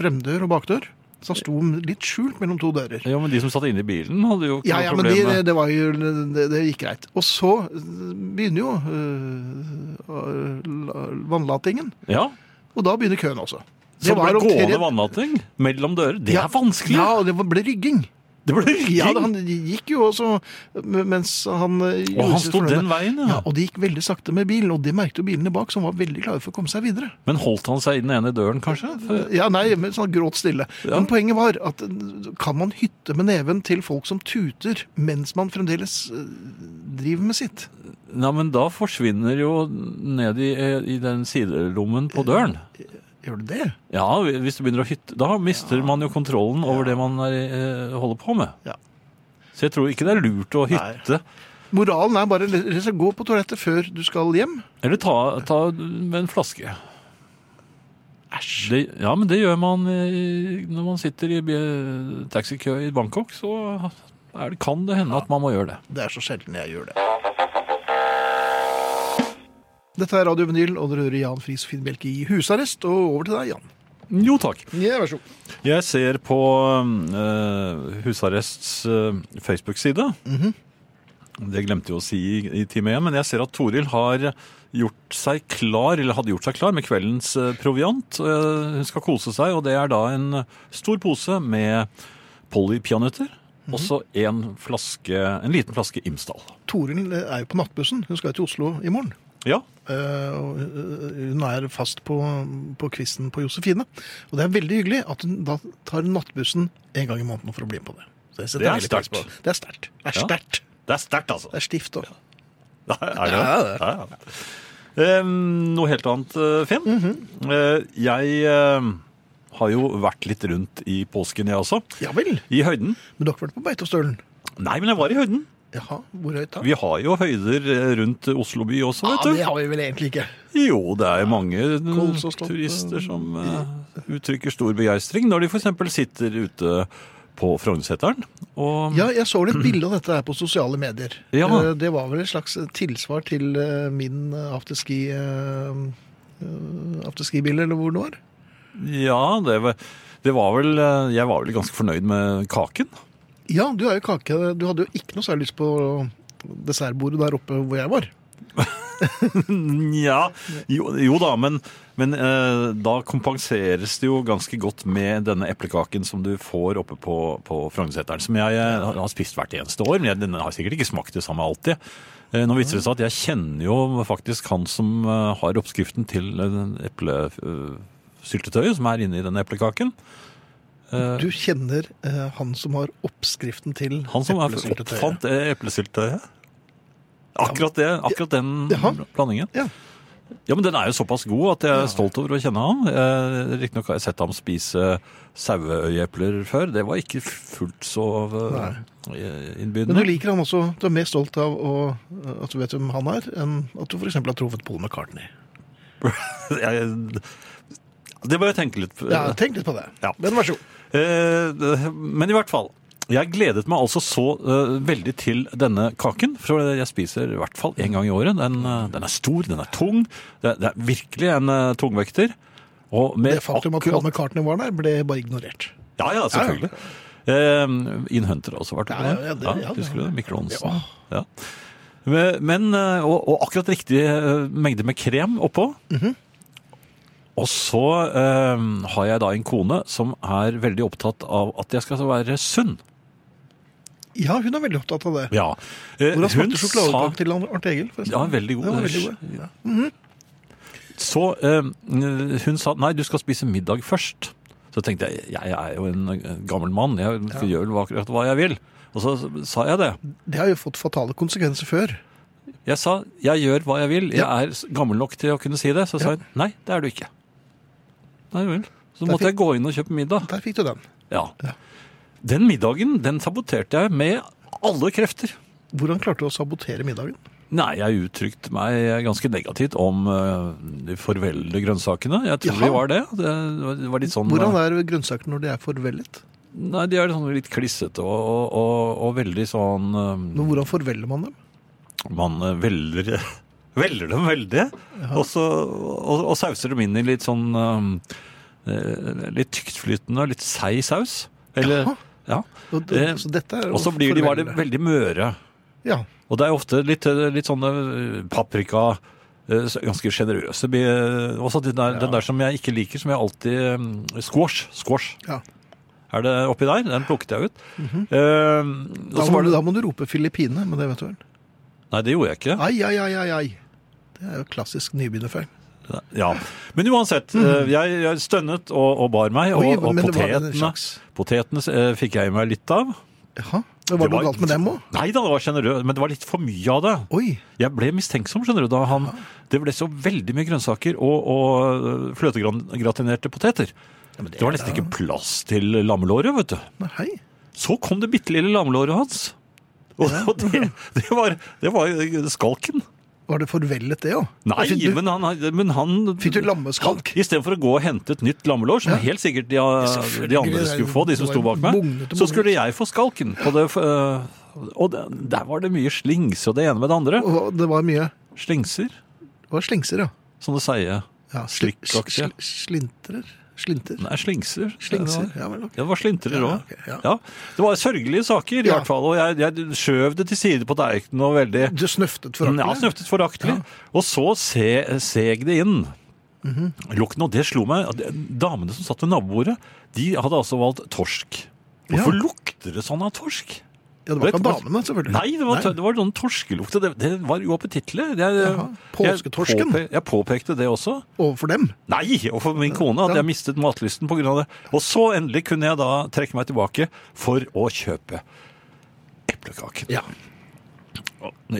Speaker 2: fremdør og bakdør. Så han sto litt skjult mellom to dører.
Speaker 3: Ja, men de som satt inne i bilen, hadde jo ikke
Speaker 2: Ja,
Speaker 3: noe
Speaker 2: ja, men
Speaker 3: problem
Speaker 2: det,
Speaker 3: med
Speaker 2: det, var jo, det, det gikk greit. Og så begynner jo eh, vannlatingen,
Speaker 3: Ja,
Speaker 2: og da begynner køen også.
Speaker 3: Så det ble
Speaker 2: omtrent-
Speaker 3: gående vannlating mellom dører. Det
Speaker 2: Ja.
Speaker 3: er vanskelig!
Speaker 2: Ja, og det var- ble rygging.
Speaker 3: Det ble rygging!
Speaker 2: Ja, han gikk jo også mens han eh,
Speaker 3: og
Speaker 2: gjorde
Speaker 3: han
Speaker 2: sitt
Speaker 3: sto
Speaker 2: fornøyde.
Speaker 3: den veien, ja.
Speaker 2: Ja, og det gikk veldig sakte med bilen, og det merket jo bilene bak, som var veldig klare for å komme seg videre.
Speaker 3: Men holdt han seg i den ene døren, kanskje? For,
Speaker 2: Ja, nei, men sånn gråt stille.
Speaker 3: Ja.
Speaker 2: Men poenget var at eh, kan man hytte med neven til folk som tuter, mens man fremdeles eh, driver med sitt?
Speaker 3: nei, men da forsvinner jo ned i, i den sidelommen på døren.
Speaker 2: Gjør du det?
Speaker 3: Ja, hvis du begynner å hytte Da mister man jo kontrollen over det man er, eh, holder på med.
Speaker 2: Ja.
Speaker 3: Så jeg tror ikke det er lurt å hytte.
Speaker 2: Moralen er bare rett og slett, gå på toalettet før du skal hjem.
Speaker 3: Eller ta, ta med en flaske.
Speaker 2: Æsj.
Speaker 3: Det, ja, men det gjør man eh, når man sitter i bi- taxikø i Bangkok, så er det, kan det hende at man må gjøre det.
Speaker 2: Det er så sjelden jeg gjør det. Dette er Radio Vinyl, og dere hører Jan Friis og Finn Bjelke i husarrest. Og over til deg, Jan.
Speaker 3: Jo takk.
Speaker 2: Ja, vær så god.
Speaker 3: Jeg ser på eh, Husarrests eh, Facebook-side. Det glemte jeg å si i, i time én, men jeg ser at Toril har gjort seg klar, eller hadde gjort seg klar med kveldens eh, proviant. Eh, hun skal kose seg, og det er da en stor pose med Polly peanøtter. Og så en flaske, en liten flaske Imsdal.
Speaker 2: Toril er jo på nattbussen. Hun skal jo til Oslo i morgen.
Speaker 3: Ja,
Speaker 2: Eh, og, eh, Hun er fast på, på kvisten på Josefine. Og det er veldig hyggelig at hun da tar nattbussen en gang i måneden for å bli med på det. Så jeg setter
Speaker 3: Det er
Speaker 2: veldig pris på
Speaker 3: sterkt.
Speaker 2: Det er sterkt. Det er
Speaker 3: Ja.
Speaker 2: sterkt.
Speaker 3: det er sterkt, altså.
Speaker 2: Det er stivt òg.
Speaker 3: Nei, er det
Speaker 2: Ja,
Speaker 3: det?
Speaker 2: det
Speaker 3: Ja, ja. Eh, noe helt annet, eh, Finn.
Speaker 2: Mhm.
Speaker 3: Eh, jeg eh, har jo vært litt rundt i påsken, jeg også.
Speaker 2: Ja vel.
Speaker 3: I høyden.
Speaker 2: Men dere har vært på Beitostølen?
Speaker 3: Nei, men jeg var i høyden.
Speaker 2: Jaha, hvor høyt da?
Speaker 3: Vi har jo høyder eh, rundt Oslo by også,
Speaker 2: ja,
Speaker 3: vet du.
Speaker 2: det har vi vel egentlig ikke.
Speaker 3: Jo, det er mange mm,
Speaker 2: Kols og slott,
Speaker 3: turister som eh, uttrykker stor begeistring når de f.eks. sitter ute på Frognerseteren. Og
Speaker 2: Ja, jeg så vel et bilde av dette her på sosiale medier.
Speaker 3: Ja.
Speaker 2: Eh, Det var vel et slags tilsvar til eh, min eh, afterski eh, eh, afterski-bil, eller hvor det var.
Speaker 3: ja, det, var, det var vel eh, Jeg var vel ganske fornøyd med kaken.
Speaker 2: Ja, du er jo kake. Du hadde jo ikke noe særlig lyst på dessertbordet der oppe hvor jeg var.
Speaker 3: Nja, jo, jo da, men, men eh, da kompenseres det jo ganske godt med denne eplekaken som du får oppe på, på Frognerseteren, som jeg eh, har spist hvert eneste år, men jeg, den har sikkert ikke smakt det samme alltid. Eh, nå viser det seg at jeg kjenner jo faktisk han som eh, har oppskriften til eh, eplesyltetøyet som er inne i den eplekaken. Eh,
Speaker 2: Du kjenner eh, han som har oppskriften til
Speaker 3: han som er-
Speaker 2: eplesyltetøyet.
Speaker 3: oppfant det eplesyltetøyet. Akkurat, det, akkurat den
Speaker 2: Jaha.
Speaker 3: blandingen.
Speaker 2: Ja.
Speaker 3: Ja, men den er jo såpass god at jeg er stolt over å kjenne ham. Eh, Riktignok har jeg sett ham spise saueøyeepler før. Det var ikke fullt så eh,
Speaker 2: Men du
Speaker 3: innbydende.
Speaker 2: liker han også. Du er mer stolt av å, eh, at du vet hvem han er, enn at du f.eks. har truffet Paul McCartney.
Speaker 3: Jeg- Det bør jeg tenke litt på.
Speaker 2: Ja, tenk litt på det.
Speaker 3: Eh. Ja.
Speaker 2: Men vær så god.
Speaker 3: Eh, Men i hvert fall. Jeg gledet meg altså så eh, veldig til denne kaken, for jeg spiser i hvert fall én gang i året. Den, eh, den er stor, den er tung. Det, det er virkelig en eh, tungvekter. Og med
Speaker 2: Det faktum at
Speaker 3: akkurat-
Speaker 2: Paul McCartney var der, ble bare ignorert.
Speaker 3: Ja, ja, selvfølgelig. Eh, Inhunter har også vært
Speaker 2: Ja, ja, ja, det-
Speaker 3: Ja,
Speaker 2: ja, det-
Speaker 3: husker du det? Mikroonsen. Ja. Men, eh, og, og akkurat riktig eh, mengde med krem oppå.
Speaker 2: Mhm.
Speaker 3: Og så eh, har jeg da en kone som er veldig opptatt av at jeg skal være sunn.
Speaker 2: Ja, hun er veldig opptatt av det.
Speaker 3: Ja. Eh,
Speaker 2: Hvordan
Speaker 3: hun
Speaker 2: smakte
Speaker 3: sa-
Speaker 2: sjokoladekake til Arnt Egil? forresten?
Speaker 3: Ja, veldig god.
Speaker 2: Den var veldig god. Ja.
Speaker 3: Så eh, hun sa nei, du skal spise middag først. Så tenkte jeg jeg er jo en eh, gammel mann, jeg gjør vel akkurat hva jeg vil. Og så sa jeg det.
Speaker 2: Det har jo fått fatale konsekvenser før.
Speaker 3: Jeg sa jeg gjør hva jeg vil, jeg
Speaker 2: Ja.
Speaker 3: er s- gammel nok til å kunne si det. Så sa
Speaker 2: Ja.
Speaker 3: hun nei, det er du ikke. Nei vel. Så
Speaker 2: Det er
Speaker 3: måtte jeg
Speaker 2: fint.
Speaker 3: gå inn og kjøpe middag.
Speaker 2: Der fikk du den.
Speaker 3: Ja.
Speaker 2: Ja.
Speaker 3: Den middagen den saboterte jeg med alle krefter.
Speaker 2: Hvordan klarte du å sabotere middagen?
Speaker 3: Nei, jeg uttrykte meg ganske negativt om eh, de forvelde grønnsakene. Jeg tror
Speaker 2: Jaha.
Speaker 3: de var det. Det var- det var litt sånn
Speaker 2: Hvordan
Speaker 3: eh,
Speaker 2: er grønnsaker når de er forvellet?
Speaker 3: Nei, de er sånn litt klissete og, og, og, og veldig sånn eh,
Speaker 2: Men hvordan forveller man dem?
Speaker 3: Man eh, veller, veller dem veldig, og, så, og, og sauser dem inn i litt sånn eh, eh, Litt tyktflytende, litt seig saus. Eller,
Speaker 2: Jaha.
Speaker 3: ja.
Speaker 2: Og,
Speaker 3: Eh,
Speaker 2: så dette er jo
Speaker 3: og så blir de bare
Speaker 2: forvelle.
Speaker 3: veldig møre.
Speaker 2: Ja.
Speaker 3: Og det er ofte litt, eh, litt sånne eh, paprika eh, så Ganske sjenerøse. bi- eh, Også den der, den der som jeg ikke liker, som jeg alltid eh, Squash. Squash.
Speaker 2: ja. Mhm.
Speaker 3: Er det oppi der? Den plukket jeg ut. Eh, og
Speaker 2: Da,
Speaker 3: så
Speaker 2: må,
Speaker 3: var det
Speaker 2: da må du rope 'Filippine', men det vet du vel.
Speaker 3: Nei, det gjorde jeg ikke.
Speaker 2: Ai, ai, ai, ai, ai. Det er jo klassisk nybegynnerfeil.
Speaker 3: Ja, Men uansett, eh, jeg, jeg stønnet og, og bar meg, og,
Speaker 2: Mm. Oi,
Speaker 3: og
Speaker 2: men det var en
Speaker 3: potetene,
Speaker 2: slags-
Speaker 3: potetene eh, fikk jeg i meg litt av.
Speaker 2: Jaha. Men var det noe galt med dem òg?
Speaker 3: Nei da, det var generøst, men det var litt for mye av det.
Speaker 2: Oi.
Speaker 3: Jeg ble mistenksom, skjønner du, da han Det ble så veldig mye grønnsaker og, og eh, fløtegratinerte poteter. det, var nesten ikke plass til lammelåret, vet du.
Speaker 2: Nei, hei.
Speaker 3: Så kom det bitte lille lammelåret hans. Og, og det, det, var, det var skalken.
Speaker 2: Var det forvellet, det òg?
Speaker 3: Nei,
Speaker 2: fikk du,
Speaker 3: men han, men han
Speaker 2: Fikk du lammeskalk?
Speaker 3: Istedenfor å gå og hente et nytt lammelår, som helt sikkert de, de andre skulle få, de som sto bak meg,
Speaker 2: Bugnete, bugnete.
Speaker 3: så skulle jeg få skalken. Og, det, øh, og det, der var det mye slings og det ene med det andre.
Speaker 2: Og det var mye
Speaker 3: Slingser,
Speaker 2: Det var slingser, ja.
Speaker 3: som det sier.
Speaker 2: ja sli-
Speaker 3: Slikkaktige.
Speaker 2: sl- Slintrer? Slinter?
Speaker 3: Nei, slingser.
Speaker 2: Slingser, ja
Speaker 3: Ja,
Speaker 2: vel. ok.
Speaker 3: det var slintrer
Speaker 2: Ja,
Speaker 3: òg.
Speaker 2: ok,
Speaker 3: Ja,
Speaker 2: ja.
Speaker 3: Det var sørgelige saker, i
Speaker 2: Ja.
Speaker 3: hvert fall. Og jeg, jeg skjøv det til side på tallerkenen og veldig
Speaker 2: Du snøftet for
Speaker 3: Ja, snøftet foraktelig. Og så se, seg det inn.
Speaker 2: Mhm.
Speaker 3: Lukten, og det slo meg. Damene som satt ved nabobordet, de hadde altså valgt torsk. Hvorfor
Speaker 2: Ja.
Speaker 3: lukter det sånn av torsk?
Speaker 2: Ja, det var
Speaker 3: Vet
Speaker 2: ikke
Speaker 3: du
Speaker 2: av
Speaker 3: hva-
Speaker 2: damene, selvfølgelig.
Speaker 3: Nei, det var, det var sånn torskelukt. og Det, det var uappetittlig. Jeg-
Speaker 2: Påsketorsken.
Speaker 3: Jeg, påpe, jeg påpekte det også.
Speaker 2: Overfor dem.
Speaker 3: Nei, og for min kone at jeg mistet matlysten pga. det. Og så endelig kunne jeg da trekke meg tilbake for å kjøpe eplekaken.
Speaker 2: Ja.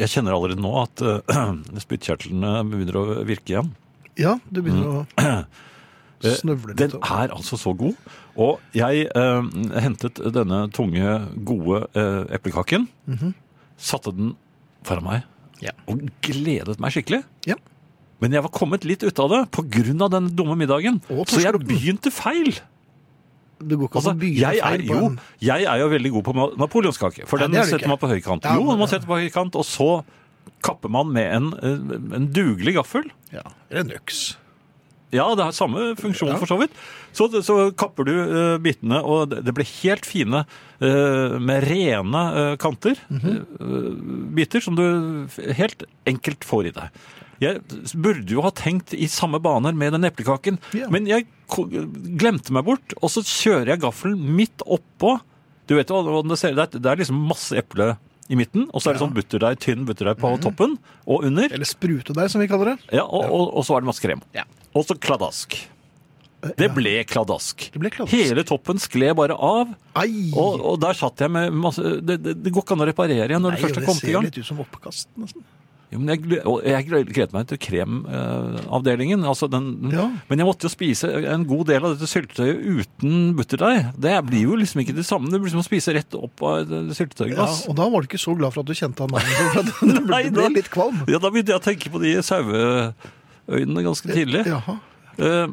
Speaker 3: Jeg kjenner allerede nå at eh, spyttkjertlene begynner å virke igjen.
Speaker 2: Ja, du begynner å
Speaker 3: Mm. Eh,
Speaker 2: snøvle litt.
Speaker 3: Den er altså så god. Og jeg eh, hentet denne tunge, gode eh, eplekaken, satte den foran meg
Speaker 2: Mhm. Ja.
Speaker 3: og gledet meg skikkelig.
Speaker 2: Ja.
Speaker 3: Men jeg var kommet litt ut av det pga. den dumme middagen,
Speaker 2: Og
Speaker 3: så jeg
Speaker 2: torskelutten.
Speaker 3: begynte feil.
Speaker 2: Du går ikke
Speaker 3: Altså,
Speaker 2: an å begynne
Speaker 3: jeg, er
Speaker 2: feil på
Speaker 3: jo,
Speaker 2: en
Speaker 3: jeg er jo veldig god på ma- napoleonskake, for
Speaker 2: Nei,
Speaker 3: den
Speaker 2: det er du
Speaker 3: setter
Speaker 2: ikke.
Speaker 3: man på høykant.
Speaker 2: Ja,
Speaker 3: Jo,
Speaker 2: men-
Speaker 3: man setter på høykant, og så kapper man med en, eh, en dugelig gaffel.
Speaker 2: ja, Eller en øks.
Speaker 3: Ja, det har samme funksjon
Speaker 2: Ja.
Speaker 3: for så vidt. Så, så kapper du eh, bitene, og det det blir helt fine eh, med rene eh, kanter.
Speaker 2: Mhm.
Speaker 3: eh, biter som du f- helt enkelt får i deg. Jeg burde jo ha tenkt i samme baner med den eplekaken,
Speaker 2: Ja.
Speaker 3: men jeg ko- glemte meg bort, og så kjører jeg gaffelen midt oppå. Du vet jo hvordan det ser ut, det er- det er liksom masse eple i midten, og så er det sånn butterdeig, tynn butterdeig
Speaker 2: Mhm.
Speaker 3: på toppen og under.
Speaker 2: Eller sprutedeig, som vi kaller det.
Speaker 3: Ja, og, og, og så er det masse krem.
Speaker 2: Ja.
Speaker 3: Og så kladask. Det ble kladask.
Speaker 2: Det ble kladask.
Speaker 3: Hele toppen skled bare av,
Speaker 2: Ai!
Speaker 3: og, og der satt jeg med masse Det, det, det går ikke an å reparere igjen når
Speaker 2: Nei,
Speaker 3: det først
Speaker 2: og
Speaker 3: har
Speaker 2: det
Speaker 3: kommet i
Speaker 2: ser
Speaker 3: gang.
Speaker 2: litt ut som oppkast, nesten.
Speaker 3: Jo, men jeg, gle- og jeg gle- gledet meg til kremavdelingen. altså den,
Speaker 2: Ja.
Speaker 3: Men jeg måtte jo spise en god del av dette syltetøyet uten butterdeig. Det blir jo liksom ikke det samme. Det blir som å spise rett opp av et
Speaker 2: Ja,
Speaker 3: syltetøyglass.
Speaker 2: og da var du ikke så glad for at du kjente han navnet. for at Du ble,
Speaker 3: Nei,
Speaker 2: du ble
Speaker 3: da-
Speaker 2: litt kvalm.
Speaker 3: Ja, da begynte jeg å tenke på de saueøynene ganske tidlig.
Speaker 2: Jaha.
Speaker 3: Eh,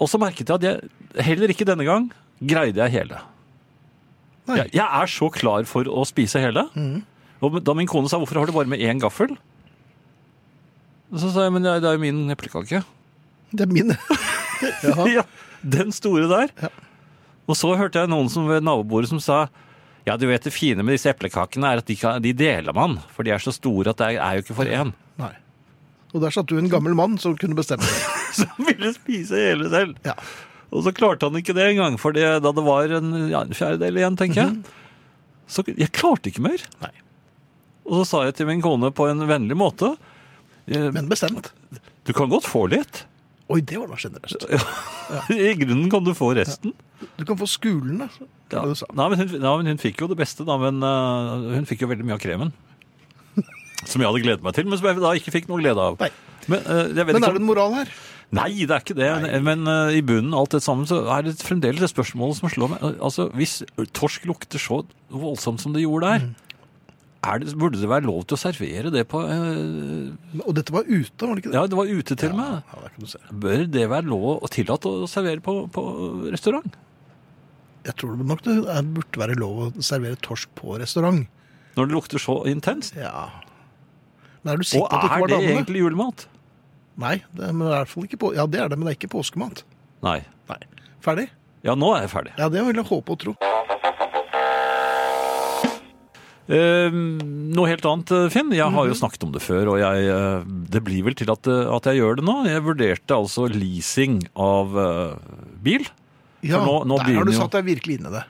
Speaker 3: og så merket jeg at jeg heller ikke denne gang greide jeg hele.
Speaker 2: Nei. Mhm.
Speaker 3: Jeg, jeg er så klar for å spise hele. Og da min kone sa 'hvorfor har du bare med én gaffel', så sa jeg 'men det er- det er jo min eplekake'.
Speaker 2: Det er min. Jaha.
Speaker 3: Ja, den store der.
Speaker 2: Ja.
Speaker 3: Og så hørte jeg noen som ved nabobordet som sa ja, du vet det fine med disse eplekakene er at de, kan, de deler man, for de er så store at det er, er jo ikke for én.
Speaker 2: Nei. Og der satt du en gammel mann som kunne bestemme.
Speaker 3: Så han ville spise hele selv.
Speaker 2: Ja.
Speaker 3: Og så klarte han ikke det engang, for det- da det var en, ja, en fjerdedel igjen, tenker jeg.
Speaker 2: Mhm.
Speaker 3: Så jeg klarte ikke mer.
Speaker 2: Nei.
Speaker 3: Og så sa jeg til min kone på en vennlig måte eh,
Speaker 2: Men bestemt.
Speaker 3: Du kan godt få litt.
Speaker 2: Oi, det var da generøst.
Speaker 3: I grunnen kan du få resten.
Speaker 2: Du kan få skulene.
Speaker 3: Ja.
Speaker 2: Ja. Du sa.
Speaker 3: Nei, men hun, ja, men hun fikk jo det beste, da, men eh, hun fikk jo veldig mye av kremen. Som jeg hadde gledet meg til, men som jeg da ikke fikk noe glede av.
Speaker 2: Nei.
Speaker 3: Men, eh, jeg vet
Speaker 2: Men
Speaker 3: ikke
Speaker 2: er
Speaker 3: om-
Speaker 2: det en moral her?
Speaker 3: Nei, det er ikke det. Men eh, i bunnen av alt det sammen, så er det fremdeles det spørsmålet som slår meg. Altså, Hvis torsk lukter så voldsomt som det gjorde
Speaker 2: Mm.
Speaker 3: der, er det, burde det være lov til å servere det på eh,
Speaker 2: Og dette var ute, var det ikke det?
Speaker 3: Ja, det var ute til og med.
Speaker 2: ja der kan du se.
Speaker 3: Bør det være lov og tillatt å servere på, på restaurant?
Speaker 2: Jeg tror nok det er- burde være lov å servere torsk på restaurant.
Speaker 3: Når det lukter så intenst?
Speaker 2: Ja. Men er du
Speaker 3: Og
Speaker 2: sikker på at det ikke
Speaker 3: er
Speaker 2: var
Speaker 3: det
Speaker 2: damene?
Speaker 3: egentlig julemat?
Speaker 2: Nei, det er, men det er i hvert fall ikke på... Ja, det er det, men det er ikke påskemat.
Speaker 3: Nei.
Speaker 2: Nei. Ferdig?
Speaker 3: Ja, nå er jeg ferdig.
Speaker 2: Ja, det vil jeg håpe og tro.
Speaker 3: Eh, noe helt annet, eh, Finn. Jeg har jo snakket om det før, og jeg, eh, det blir vel til at, eh, at jeg gjør det nå. Jeg vurderte altså leasing av eh, bil.
Speaker 2: Ja,
Speaker 3: nå- nå
Speaker 2: der har
Speaker 3: begynner
Speaker 2: du
Speaker 3: jo-
Speaker 2: satt deg virkelig inn i det.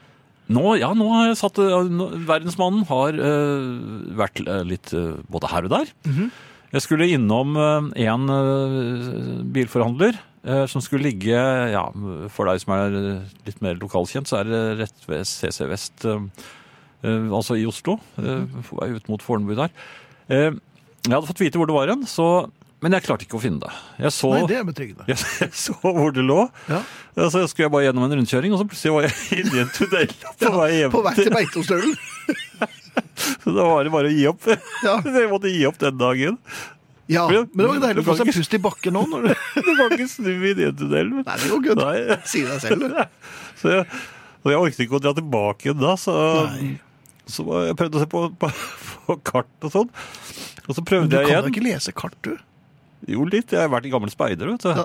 Speaker 3: Nå, ja, nå har jeg satt eh, nå- Verdensmannen har eh, vært eh, litt eh, både her og der.
Speaker 2: Mhm.
Speaker 3: Jeg skulle innom eh, en eh, bilforhandler eh, som skulle ligge Ja, for deg som er eh, litt mer lokalkjent, så er det rett ved CC Vest, eh, eh, altså i Oslo. eh,
Speaker 2: Mhm.
Speaker 3: På vei ut mot Fornebu der. Eh, Jeg hadde fått vite hvor det var hen, så Men jeg klarte ikke å finne det. Jeg så,
Speaker 2: Nei, det er betryggende.
Speaker 3: jeg, jeg så hvor det lå.
Speaker 2: Ja.
Speaker 3: Ja, Så skulle jeg bare gjennom en rundkjøring, og så plutselig var jeg inne i en tunnel på vei hjem.
Speaker 2: På vei til Beitostølen.
Speaker 3: Så da var det bare å gi opp.
Speaker 2: Ja.
Speaker 3: Så jeg måtte gi opp den dagen.
Speaker 2: Ja, men det var jo deilig å få seg
Speaker 3: Du kan ikke-
Speaker 2: pust i bakken nå. Når du...
Speaker 3: Du kan ikke snu i den tunnelen.
Speaker 2: Nei, det går good.
Speaker 3: Nei.
Speaker 2: Si deg selv. du.
Speaker 3: Så jeg, og jeg orket ikke å dra tilbake igjen da, så,
Speaker 2: Nei.
Speaker 3: så var- jeg prøvde å se på, på, på kart og sånn. Og så
Speaker 2: Men
Speaker 3: prøvde
Speaker 2: Du
Speaker 3: jeg
Speaker 2: kan da
Speaker 3: igjen.
Speaker 2: ikke lese kart, du.
Speaker 3: Jo, litt. Jeg har vært i gammel speider, vet du.
Speaker 2: Ja.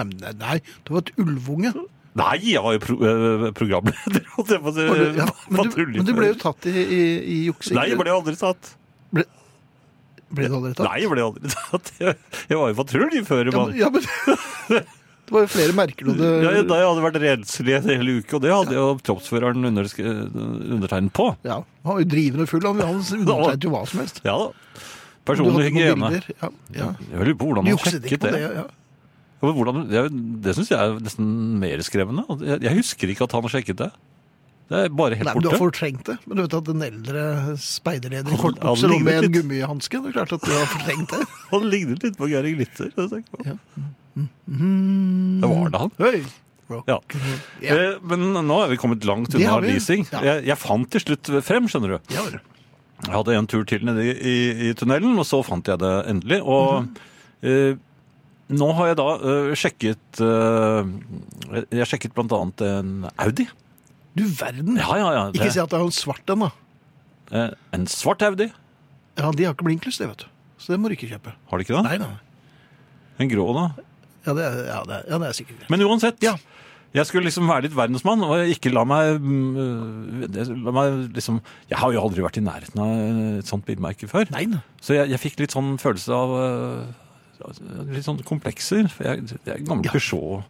Speaker 2: Nei, men nei, nei, du var et ulvunge.
Speaker 3: Nei, jeg var jo pro eh, programleder, holdt jeg på å si.
Speaker 2: Var du- ja, men, du, men du ble jo tatt i, i, i juksing.
Speaker 3: Nei, jeg ble aldri tatt.
Speaker 2: Ble, ble du aldri tatt?
Speaker 3: Nei, jeg ble aldri tatt. Jeg, jeg var jo patruljefører,
Speaker 2: Ja,
Speaker 3: mann.
Speaker 2: men, ja, men Det var jo flere merker du
Speaker 3: Ja, jeg, da
Speaker 2: hadde
Speaker 3: jeg hadde vært renslig en hel uke, og det hadde jo troppsføreren undersk- undertegnet på.
Speaker 2: Ja, han var jo drivende full. Han, han undertegnet jo hva som helst.
Speaker 3: Ja da.
Speaker 2: Du hadde
Speaker 3: Personlig
Speaker 2: noen
Speaker 3: hygiene.
Speaker 2: bilder, Ja, ja.
Speaker 3: Jeg lurer på hvordan
Speaker 2: Du
Speaker 3: man
Speaker 2: jukset ikke
Speaker 3: sjekket
Speaker 2: på
Speaker 3: det.
Speaker 2: det. Ja.
Speaker 3: Ja, men Hvordan, det er jo- det syns jeg er nesten mer skremmende. Jeg, jeg husker ikke at han sjekket det. Det er bare helt
Speaker 2: Nei, men Du
Speaker 3: borte.
Speaker 2: har fortrengt det. Men du vet at den eldre speiderleder i
Speaker 3: Han-
Speaker 2: kortbukser
Speaker 3: han
Speaker 2: og med
Speaker 3: lignet
Speaker 2: en
Speaker 3: litt.
Speaker 2: gummihanske Det er klart at du har fortrengt det.
Speaker 3: Han lignet litt på Geir Glitter. Det tenkte jeg på.
Speaker 2: Det Mm-hmm.
Speaker 3: Det var det han.
Speaker 2: Høy.
Speaker 3: Ja.
Speaker 2: Ja.
Speaker 3: Eh, Men nå er vi kommet langt
Speaker 2: Det
Speaker 3: unna
Speaker 2: har vi.
Speaker 3: leasing.
Speaker 2: Ja.
Speaker 3: Jeg, jeg fant til slutt frem, skjønner du.
Speaker 2: Ja, vel.
Speaker 3: Jeg hadde en tur til nede i, i, i tunnelen, og så fant jeg det endelig. Og eh, nå har jeg da eh, sjekket eh, Jeg jeg sjekket blant annet en Audi.
Speaker 2: Du verden.
Speaker 3: Ja, ja, ja. det-
Speaker 2: Ikke si at det er en svart en, da.
Speaker 3: eh, en svart Audi.
Speaker 2: Ja, De har ikke blinklys, det, vet du. Så det må du ikke kjøpe.
Speaker 3: Har de ikke det?
Speaker 2: Nei, nei.
Speaker 3: En grå, da.
Speaker 2: Ja, det er, ja, det er, ja, det er sikkert.
Speaker 3: Men uansett.
Speaker 2: Ja.
Speaker 3: Jeg skulle liksom være litt verdensmann og ikke la meg, mm, eh, la meg liksom, Jeg har jo aldri vært i nærheten av eh, et sånt bilmerke før.
Speaker 2: Nei, nei.
Speaker 3: Så jeg, jeg fikk litt sånn følelse av eh, Litt sånn komplekser. for Jeg, jeg er gammel
Speaker 2: Ja.
Speaker 3: Peugeot.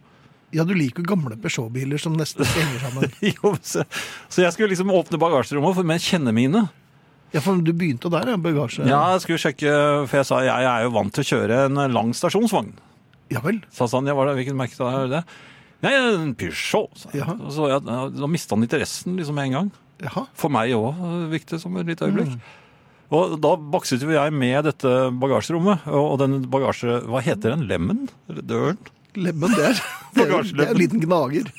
Speaker 2: Ja, du liker jo gamle Peugeot-biler som nesten ikke henger sammen.
Speaker 3: Jo, så, så jeg skulle liksom åpne bagasjerommet for- med kjenne mine.
Speaker 2: Ja, for du begynte der, ja. Bagasje.
Speaker 3: Ja, jeg skulle sjekke, for jeg sa jeg, jeg er jo vant til å kjøre en lang stasjonsvogn.
Speaker 2: Ja vel.
Speaker 3: Sa han, ja, hva er det, hvilket merke er det? Nei, en Peugeot. sa jeg.
Speaker 2: Jaha.
Speaker 3: Og Så jeg, da mista han interessen liksom med en gang.
Speaker 2: Jaha.
Speaker 3: For meg òg, virket det som et lite øyeblikk.
Speaker 2: Mm.
Speaker 3: Og da bakset jo jeg med dette bagasjerommet, og og den bagasje... Hva heter den? Lemmen? Eller døren?
Speaker 2: Lemmen, det er, det er,
Speaker 3: Bagasjelemmen.
Speaker 2: det er en liten gnager.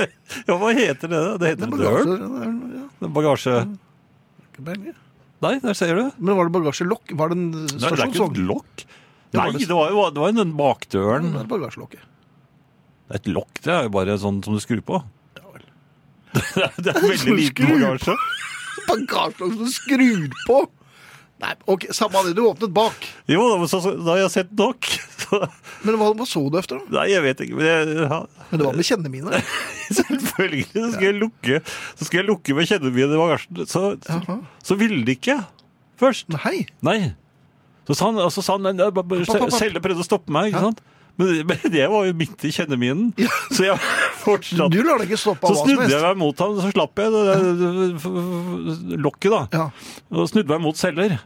Speaker 3: Ja, hva heter det? da? Det
Speaker 2: Det
Speaker 3: heter
Speaker 2: er bagasje,
Speaker 3: døren.
Speaker 2: det er, ja,
Speaker 3: Det er Bagasje...
Speaker 2: ikke peiling.
Speaker 3: Nei, der ser du.
Speaker 2: Men var det bagasjelokk? Var det en
Speaker 3: Det er, det er ikke et
Speaker 2: stasjonsvogn?
Speaker 3: lokk.
Speaker 2: Det
Speaker 3: Nei,
Speaker 2: var det- Mm.
Speaker 3: det var jo det var jo den bakdøren.
Speaker 2: Det er bagasjelokket.
Speaker 3: Et lokk, det er jo bare sånn som du skrur på.
Speaker 2: Ja vel.
Speaker 3: Det er- det er veldig
Speaker 2: Som du
Speaker 3: liten
Speaker 2: skrur
Speaker 3: bagasje.
Speaker 2: Bagasjelokk som du skrur på! Nei, ok, samme av det. Du åpnet bak.
Speaker 3: Jo, da, men så, så- da har jeg sett nok. Så,
Speaker 2: Men hva, hva så du etter, da?
Speaker 3: nei, jeg vet ikke. Men jeg, ja,
Speaker 2: Men det var med kjennemine.
Speaker 3: selvfølgelig så skal jeg lukke Så skal jeg lukke med kjennemine i bagasjen. Så, så,
Speaker 2: Jaha.
Speaker 3: så ville de ikke først.
Speaker 2: Nei.
Speaker 3: Nei. Så sa han, og så sa han nei, nei, bare- bare
Speaker 2: Papp, papp,
Speaker 3: se-
Speaker 2: papp.
Speaker 3: Selle prøvde å stoppe meg, ikke
Speaker 2: Ja.
Speaker 3: sant? Men, men jeg var jo midt i kjenneminen,
Speaker 2: Ja.
Speaker 3: så jeg fortsatte.
Speaker 2: Du lar deg ikke stoppe
Speaker 3: Så
Speaker 2: av hva som
Speaker 3: snudde jeg
Speaker 2: helst.
Speaker 3: meg mot ham, så slapp jeg det, det, det, f- f- lokket, da.
Speaker 2: Ja. Mhm.
Speaker 3: Og snudde meg mot celler.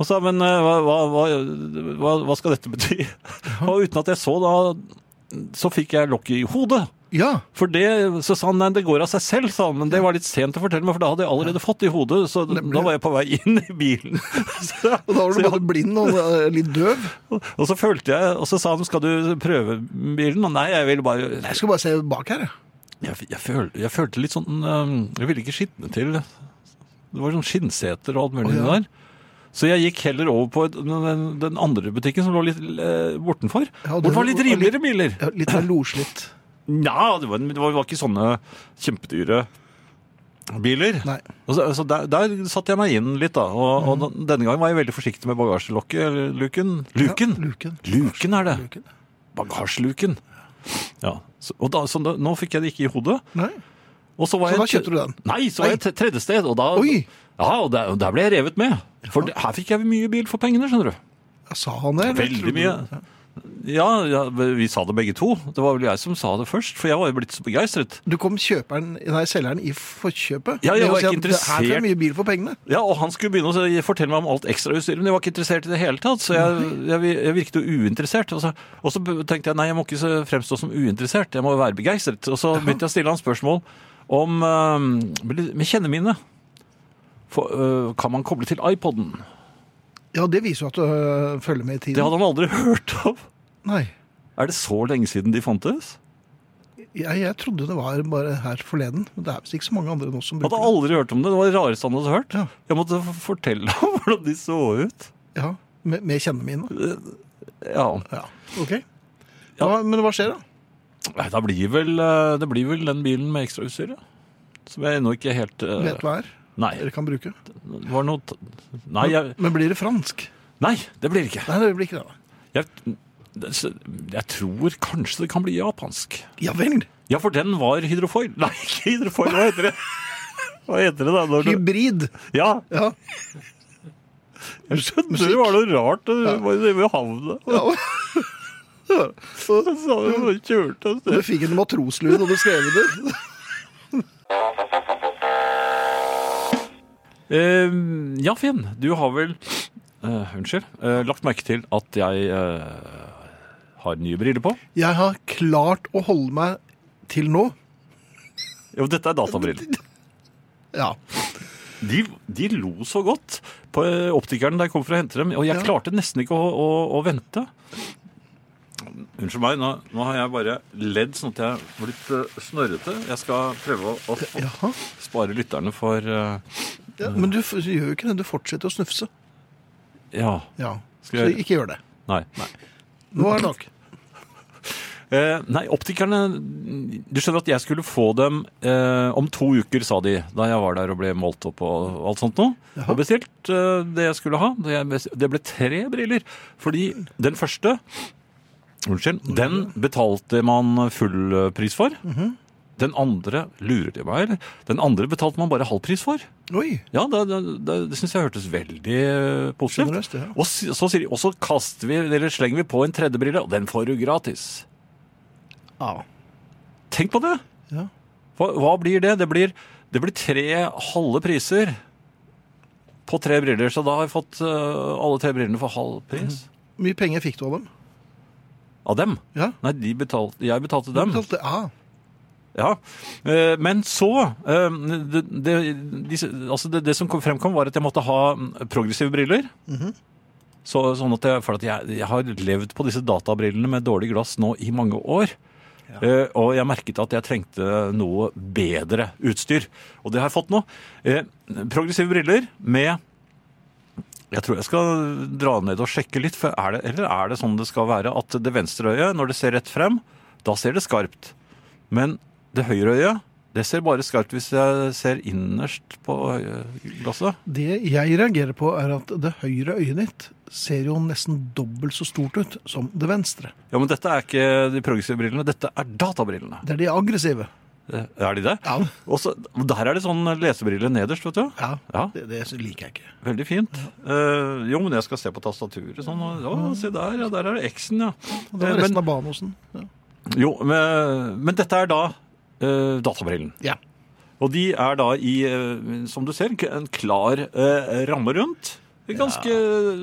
Speaker 3: Og sa men eh, hva, hva, hva- hva, hva skal dette bety? Og uten at jeg så da, så fikk jeg lokket i hodet.
Speaker 2: ja.
Speaker 3: For det, så sa han nei, det går av seg selv, sa han. Men det var litt sent å fortelle meg, for da hadde jeg allerede fått i hodet. Så da var jeg på vei inn i bilen. Så,
Speaker 2: Og da var du
Speaker 3: så jeg-
Speaker 2: både blind og eh, litt døv.
Speaker 3: og så følte jeg, og så sa han skal du prøve bilen? Og nei, jeg ville bare
Speaker 2: Jeg skal bare se bak her, jeg.
Speaker 3: Jeg, jeg, føl, jeg følte litt sånn øhm, Jeg ville ikke skitne til. Det var sånn skinnseter og alt
Speaker 2: Å,
Speaker 3: mulig
Speaker 2: ja.
Speaker 3: inni der. Så jeg gikk heller over på et, den, den andre butikken som lå litt eh, bortenfor.
Speaker 2: Ja, og
Speaker 3: Hvor det var
Speaker 2: den-
Speaker 3: litt
Speaker 2: og litt-
Speaker 3: rimeligere biler.
Speaker 2: Ja, Litt mer loslitt.
Speaker 3: Nja, det, var, det var var ikke sånne kjempedyre biler.
Speaker 2: Nei. Mhm.
Speaker 3: Og så, så der, der satte jeg meg inn litt, da. Og, og den- denne gangen var jeg veldig forsiktig med bagasjelokket. eller Luken. Luken.
Speaker 2: Ja, luken.
Speaker 3: Luken er det.
Speaker 2: Luken.
Speaker 3: Bagasjeluken. Ja. Så, og da, så da, nå fikk jeg det ikke i hodet.
Speaker 2: Nei.
Speaker 3: Og så, var
Speaker 2: Så
Speaker 3: jeg,
Speaker 2: da kjøpte du den?
Speaker 3: Nei, så var
Speaker 2: Nei.
Speaker 3: jeg t- tredje sted, og da
Speaker 2: Oi!
Speaker 3: Ja, og der, og der ble jeg revet med. For det- her fikk jeg mye bil for pengene, skjønner du.
Speaker 2: Ja, Sa han det? eller tror
Speaker 3: Veldig
Speaker 2: du-
Speaker 3: mye. Ja, ja, vi sa det begge to. Det var vel jeg som sa det først, for jeg var jo blitt så begeistret.
Speaker 2: Du kom kjøperen, nei, selgeren i forkjøpet?
Speaker 3: Ja, jeg
Speaker 2: Med å
Speaker 3: var
Speaker 2: si
Speaker 3: ikke
Speaker 2: at det- Her får
Speaker 3: interessert.
Speaker 2: jeg mye bil for pengene.
Speaker 3: Ja, og han skulle begynne å si- fortelle meg om alt ekstrautstyret, men jeg var ikke interessert i det hele tatt, så jeg, jeg, jeg virket jo uinteressert. Og så, og så tenkte jeg, nei, jeg må ikke så- fremstå som uinteressert, jeg må jo være begeistret. Og så begynte jeg å stille han spørsmål om, eh, med kjennemine, for, eh, kan man koble til iPodden?
Speaker 2: Ja, det viser jo at du øh, følger med i tiden.
Speaker 3: Det hadde han aldri hørt om.
Speaker 2: Nei.
Speaker 3: Er det så lenge siden de fantes?
Speaker 2: Jeg, jeg trodde det var bare her forleden, men det er visst ikke så mange andre nå som
Speaker 3: Jeg
Speaker 2: bruker
Speaker 3: hadde aldri hørt om det. Det var det rareste han hadde hørt.
Speaker 2: Ja.
Speaker 3: Jeg måtte f- fortelle ham hvordan de så ut.
Speaker 2: det. Ja, med, med kjennene mine.
Speaker 3: Ja,
Speaker 2: Ja, ok.
Speaker 3: Ja.
Speaker 2: Hva, men hva skjer da?
Speaker 3: Nei, da blir vel, eh, Det blir vel den bilen med ekstrautstyr, ja. Som jeg ennå ikke helt eh,
Speaker 2: Vet hva er?
Speaker 3: Nei.
Speaker 2: Dere kan bruke.
Speaker 3: Det var noe t- Nei, jeg,
Speaker 2: Men blir det fransk?
Speaker 3: nei det blir det ikke.
Speaker 2: Nei, det blir ikke det. da.
Speaker 3: Jeg, det- så- jeg tror kanskje det kan bli japansk.
Speaker 2: Ja vel!
Speaker 3: Ja, for den var hydrofoil. Nei, ikke hydrofoil. Hva heter det? Hva heter det da? Når du,
Speaker 2: Hybrid!
Speaker 3: ja,
Speaker 2: Ja.
Speaker 3: Jeg skjønte det var noe rart. Det var det ved havna.
Speaker 2: ja. Så
Speaker 3: Så sa vi bare kjørte av
Speaker 2: du
Speaker 3: sted.
Speaker 2: fikk en matroslue da du skrev det.
Speaker 3: Eh, ja, Finn, du har vel eh, Unnskyld. eh, lagt merke til at jeg eh, har nye briller på?
Speaker 2: Jeg har klart å holde meg til nå
Speaker 3: Jo, dette er databriller.
Speaker 2: Ja.
Speaker 3: De, de lo så godt på eh, optikeren da jeg kom for å hente dem, og jeg
Speaker 2: Ja.
Speaker 3: klarte nesten ikke å, å, å vente. Unnskyld meg, nå, nå har jeg bare ledd sånn at jeg er blitt eh, snørrete. Jeg skal prøve å, å
Speaker 2: Jaha.
Speaker 3: spare lytterne for eh,
Speaker 2: Ja, men du f- gjør jo ikke det. Du fortsetter å snufse.
Speaker 3: Ja.
Speaker 2: Ja.
Speaker 3: Skal
Speaker 2: Så
Speaker 3: jeg-
Speaker 2: ikke gjør det.
Speaker 3: Nei.
Speaker 2: Nå er det nok.
Speaker 3: Eh, nei, optikerne Du skjønner at jeg skulle få dem eh, om to uker, sa de, da jeg var der og ble målt opp og alt sånt noe.
Speaker 2: Jaha.
Speaker 3: Og bestilt eh, det jeg skulle ha. Det, jeg bes- det ble tre briller. Fordi den første Unnskyld. Den betalte man full eh, pris for. Den andre lurer de meg, eller? Den andre betalte man bare halv pris for.
Speaker 2: Oi.
Speaker 3: Ja, det, det, det, det syns jeg hørtes veldig eh, positivt
Speaker 2: Generøst, ja.
Speaker 3: og s- så sier de, og så kaster vi, eller slenger vi på en tredje brille, og den får du gratis.
Speaker 2: ja.
Speaker 3: Tenk på det!
Speaker 2: Ja.
Speaker 3: Hva, hva blir det? Det blir, det blir tre halve priser på tre briller, så da har jeg fått øh, alle tre brillene for halv pris.
Speaker 2: Mye penger fikk du av dem?
Speaker 3: Av dem?
Speaker 2: Ja.
Speaker 3: Nei, de betalte, jeg betalte dem.
Speaker 2: Betalte- Ja.
Speaker 3: Ja. Eh, Men så eh, det, det, disse, altså det, det som kom- fremkom, var at jeg måtte ha mm, progressive briller. så, sånn at jeg, for at jeg, jeg har levd på disse databrillene med dårlig glass nå i mange år. Eh, og jeg merket at jeg trengte noe bedre utstyr. Og det har jeg fått nå. Eh, progressive briller med jeg tror jeg skal dra ned og sjekke litt. For er det, eller er det sånn det skal være at det venstre øyet, når det ser rett frem, da ser det skarpt. Men det høyre øyet, det ser bare skarpt hvis jeg ser innerst på øye- glasset.
Speaker 2: Det jeg reagerer på, er at det høyre øyet ditt ser jo nesten dobbelt så stort ut som det venstre.
Speaker 3: Ja, men dette er ikke de progressive brillene, dette er databrillene.
Speaker 2: Det er de aggressive.
Speaker 3: Eh, Er de det?
Speaker 2: Ja,
Speaker 3: Og så, der er det sånn lesebrille nederst, vet du.
Speaker 2: ja
Speaker 3: Ja,
Speaker 2: det, det liker jeg ikke.
Speaker 3: veldig fint. Eh, jo, men jeg skal se på tastaturet sånn. og- Å, se der, ja, der er det X-en, ja.
Speaker 2: Og det var
Speaker 3: Eh, men-
Speaker 2: resten av Banosen. Ja.
Speaker 3: Jo, men, men dette er da eh, databrillen.
Speaker 2: Ja.
Speaker 3: Og de er da i, eh, som du ser, en klar eh, ramme rundt. Ganske eh,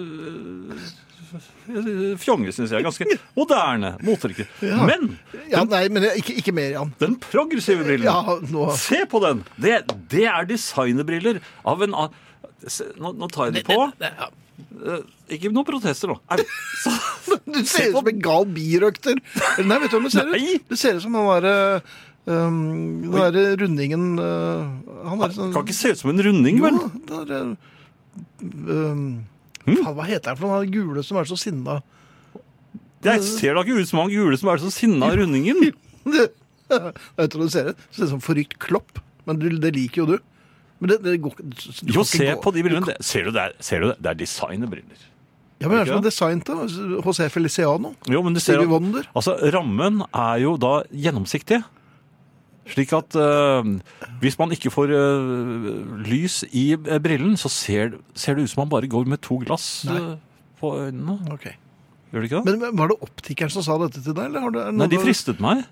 Speaker 3: fjonge, syns jeg. Ganske moderne, moteriktig.
Speaker 2: Ja.
Speaker 3: Men
Speaker 2: Ja, nei, men ikke, ikke mer, Jan.
Speaker 3: den progressive brillen
Speaker 2: Ja, nå
Speaker 3: Se på den! Det, det er designerbriller av en a- Se, nå, nå tar jeg de på. Eh, Ikke noen protester nå. Au. Så-
Speaker 2: Du ser ut som en gal birøkter. Nei, vet du hva du ser
Speaker 3: Nei.
Speaker 2: ut? Du ser ut som han derre um, Den derre rundingen eh, Han er sånn
Speaker 3: Kan ikke se ut som en runding, vel?
Speaker 2: Jo, det er, um,
Speaker 3: Hmm?
Speaker 2: faen, Hva heter han for noen av de gule som er så sinna?
Speaker 3: Det ser da ikke ut som han gule som er så sinna av rundingen.
Speaker 2: Det- Vet du hva du ser ut? Du ser ut som forrykt klopp. Men du, det liker jo du. Men det, det går ikke du- du
Speaker 3: Jo,
Speaker 2: kan ikke
Speaker 3: se
Speaker 2: gå-
Speaker 3: på de brillene. Det- Ser du det? er- Ser du det? det er designerbriller.
Speaker 2: Ja, men det er som
Speaker 3: Ikke
Speaker 2: en design til José Feliciano.
Speaker 3: Jo, men du ser
Speaker 2: Stevie
Speaker 3: at,
Speaker 2: Wonder.
Speaker 3: altså, rammen er jo da gjennomsiktig. Slik at eh, hvis man ikke får eh, lys i eh, brillen, så ser, ser det ut som man bare går med to glass
Speaker 2: Nei.
Speaker 3: eh, på øynene.
Speaker 2: Ok.
Speaker 3: Gjør det ikke det?
Speaker 2: Men men var det optikeren som sa dette til deg? Eller har du, er det noe
Speaker 3: Nei, de
Speaker 2: du-
Speaker 3: fristet meg.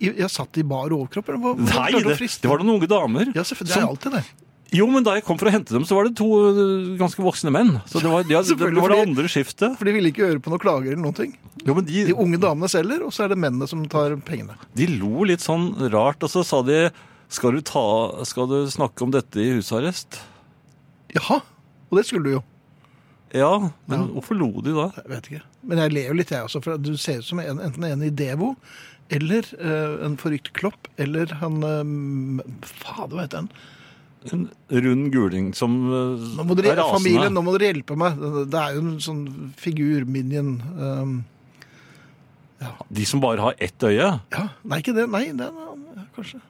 Speaker 2: Jeg, jeg satt i bar overkropp, eller hva? hvordan
Speaker 3: Nei,
Speaker 2: klarte du å
Speaker 3: det,
Speaker 2: friste?
Speaker 3: det var noen unge damer.
Speaker 2: Ja, selvfølgelig. Det er
Speaker 3: som-
Speaker 2: alltid det.
Speaker 3: Jo, men da jeg kom for å hente dem, så var det to øh, ganske voksne menn. Så det var, ja, det, det
Speaker 2: Selvfølgelig,
Speaker 3: var det
Speaker 2: fordi-
Speaker 3: andre skiftet.
Speaker 2: For de vil ikke høre på noen klager eller noen ting.
Speaker 3: Jo, men de,
Speaker 2: De unge damene selger, og så er det mennene som tar pengene.
Speaker 3: de lo litt sånn rart, og så sa de skal du, ta, skal du snakke om dette i husarrest?
Speaker 2: Jaha! Og det skulle du jo.
Speaker 3: Ja, men hvorfor lo de da?
Speaker 2: Jeg vet ikke. Men jeg ler jo litt, jeg også. For du ser ut som en, enten en i Devo, eller eh, en forrykt klopp, eller han eh, Fader, hva heter han?
Speaker 3: En rund guling som øh,
Speaker 2: Nå må dere,
Speaker 3: er rasende.
Speaker 2: familien, nå må dere hjelpe meg. Det er jo en sånn figur, minion ehm,
Speaker 3: De som bare har ett øye
Speaker 2: Ja, nei, ikke det. Nei, det er en annen, ja, kanskje.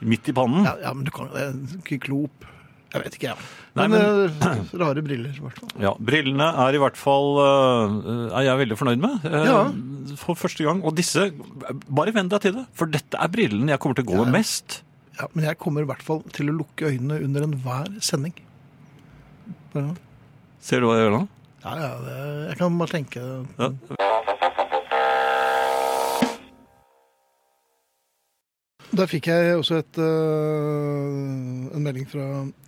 Speaker 3: midt i pannen.
Speaker 2: Ja, ja men du kan det er ikke klop. Jeg vet ikke, jeg. Ja.
Speaker 3: Nei,
Speaker 2: Men, eh, rare briller, i hvert fall.
Speaker 3: Ja, Brillene er i hvert fall øh, er jeg veldig fornøyd med. øh,
Speaker 2: Ja.
Speaker 3: For første gang. Og disse Bare venn deg til det, for dette er brillene jeg kommer til å gå med mest.
Speaker 2: Ja, men jeg kommer i hvert fall til å lukke øynene under enhver sending. Ja,
Speaker 3: Ser du hva jeg gjør nå?
Speaker 2: ja, ja det, jeg kan bare tenke
Speaker 3: Ja.
Speaker 2: Der fikk jeg også et, eh, en melding fra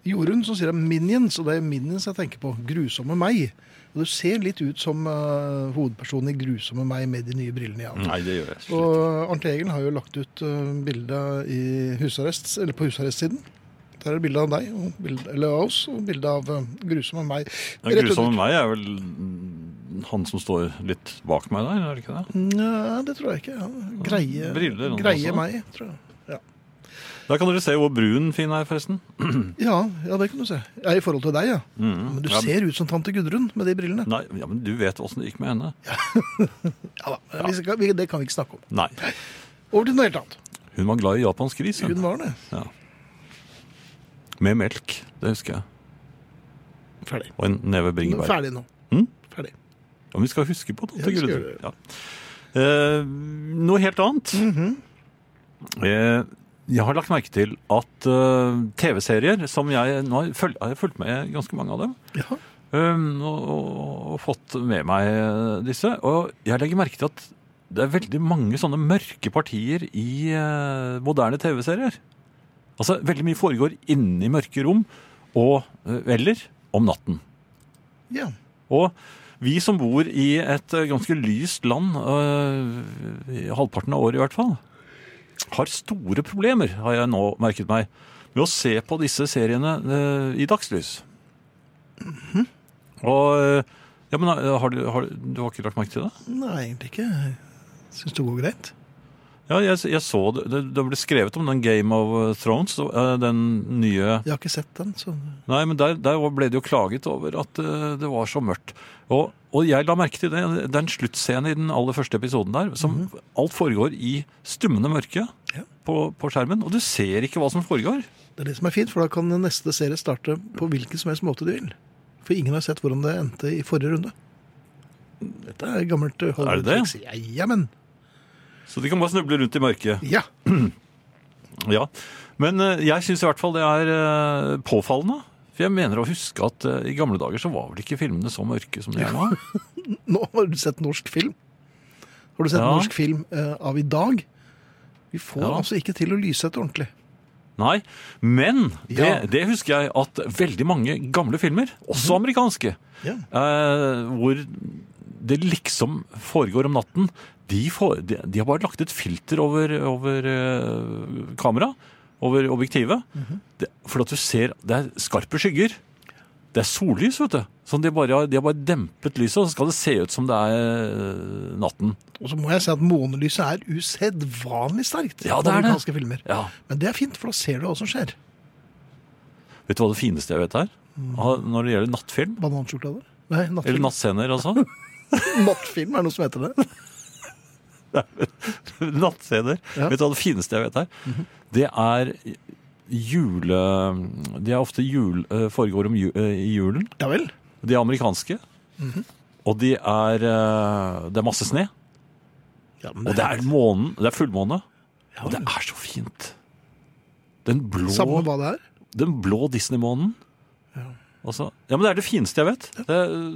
Speaker 2: Jorunn som sier det er Minions, og det er Minions jeg tenker på. Grusomme meg. Og du ser litt ut som eh, hovedpersonen i Grusomme meg med de nye brillene. Jan.
Speaker 3: Nei, det gjør jeg
Speaker 2: eh, Og Arnt Egil har jo lagt ut uh, bilde i husarrest, eller på husarrestsiden Der er det bilde av deg, og bilde, eller av oss, og bilde av eh, grusomme meg.
Speaker 3: Den grusomme meg er vel mm, han som står litt bak meg der, er det ikke det?
Speaker 2: Nei, det tror jeg ikke. Ja. Greie,
Speaker 3: Briller, han
Speaker 2: greie
Speaker 3: også.
Speaker 2: meg, tror jeg. Ja.
Speaker 3: Der kan dere se hvor brun Finn er, forresten.
Speaker 2: Ja, ja, det kan du se. Ja, I forhold til deg, ja.
Speaker 3: Mhm.
Speaker 2: Men du
Speaker 3: Ja, Mm.
Speaker 2: ser ut som tante Gudrun med de brillene.
Speaker 3: Nei, ja, men du vet åssen det gikk med henne.
Speaker 2: Ja da, vi skal, vi, Det kan vi ikke snakke om.
Speaker 3: Nei.
Speaker 2: Over til noe helt annet.
Speaker 3: Hun var glad i japansk ris.
Speaker 2: Hun
Speaker 3: Hun.
Speaker 2: var det.
Speaker 3: Ja. Med melk, det husker jeg.
Speaker 2: Ferdig.
Speaker 3: Og en neve
Speaker 2: Nå,
Speaker 3: bringebær.
Speaker 2: ferdig nå.
Speaker 3: Mm?
Speaker 2: Ferdig.
Speaker 3: Ja, vi skal huske på
Speaker 2: Ja,
Speaker 3: tante
Speaker 2: vi skal
Speaker 3: Gudrun.
Speaker 2: gjøre det.
Speaker 3: Ja. Eh, noe helt annet. eh, jeg har lagt merke til at eh, TV-serier som jeg Nå har jeg føl- har jeg fulgt med ganske mange av dem.
Speaker 2: Ja.
Speaker 3: Um, og, og, og fått med meg eh, disse. Og jeg legger merke til at det er veldig mange sånne mørke partier i eh, moderne TV-serier. Altså, veldig mye foregår inne i mørke rom, og, eh, eller om natten.
Speaker 2: ja.
Speaker 3: Og vi som bor i et eh, ganske lyst land, eh, i halvparten av året i hvert fall, har store problemer, har jeg nå merket meg, med å se på disse seriene eh, i dagslys. Og eh, ja, men eh, har du, har, du- du har ikke lagt merke til det?
Speaker 2: Nei, egentlig ikke. Syns det går greit.
Speaker 3: Ja, jeg, jeg så det, det. Det ble skrevet om den Game of Thrones, eh, den nye
Speaker 2: Jeg har ikke sett den, så
Speaker 3: Nei, men der, der ble det jo klaget over at eh, det var så mørkt. Og, og jeg la merke til det. Det er en sluttscene i den aller første episoden der, som alt foregår i stummende mørke
Speaker 2: Ja.
Speaker 3: på, på skjermen. Og du ser ikke hva som foregår.
Speaker 2: det er det som er fint, for da kan neste serie starte på hvilken som helst måte de vil. For ingen har sett hvordan det endte i forrige runde. Dette er gammelt eh, Hollywood-triks. Ja, ja, men.
Speaker 3: Så de kan bare snuble rundt i mørket.
Speaker 2: Ja.
Speaker 3: Ja. Men eh, jeg syns i hvert fall det er eh, påfallende. For jeg mener å huske at eh, i gamle dager så var vel ikke filmene så mørke som de er nå.
Speaker 2: Nå har du sett norsk film. Har du sett
Speaker 3: Ja.
Speaker 2: norsk film eh, av i dag? Vi får
Speaker 3: Ja.
Speaker 2: altså ikke til å lyssette ordentlig.
Speaker 3: Nei, men det,
Speaker 2: Ja.
Speaker 3: det husker jeg at veldig mange gamle filmer, også amerikanske,
Speaker 2: Ja.
Speaker 3: eh, hvor det liksom foregår om natten, de, får- de, de har bare lagt et filter over, over eh, kamera, over objektivet, det, for at du ser, det er skarpe skygger, det er sollys, vet du. Sånn de, bare, har- de har bare dempet lyset, og så skal det se ut som det er eh, natten.
Speaker 2: Og så må jeg si at månelyset er usedvanlig sterkt
Speaker 3: Ja, det er det.
Speaker 2: amerikanske filmer.
Speaker 3: Ja.
Speaker 2: Men det er fint, for da ser du hva som skjer.
Speaker 3: Vet du hva det fineste jeg vet er? Ah, Når det gjelder nattfilm,
Speaker 2: Banansjokolader? Nei,
Speaker 3: eller
Speaker 2: nattfilm.
Speaker 3: nattscener altså.
Speaker 2: Nattfilm er det noe som heter det.
Speaker 3: Nattscener.
Speaker 2: Ja.
Speaker 3: Vet du hva det fineste jeg vet er? Det er jule... De er ofte jul, eh, foregår om ju, eh, i julen.
Speaker 2: Ja vel.
Speaker 3: De er amerikanske. Og de er eh, Det er masse snø.
Speaker 2: Ja, men
Speaker 3: Og det er månen. Det er fullmåne. Og det er så fint. Den
Speaker 2: Samme
Speaker 3: blå,
Speaker 2: hva det er.
Speaker 3: den blå Disney-månen. Altså, ja, men det er det fineste jeg vet. Det, er, eh,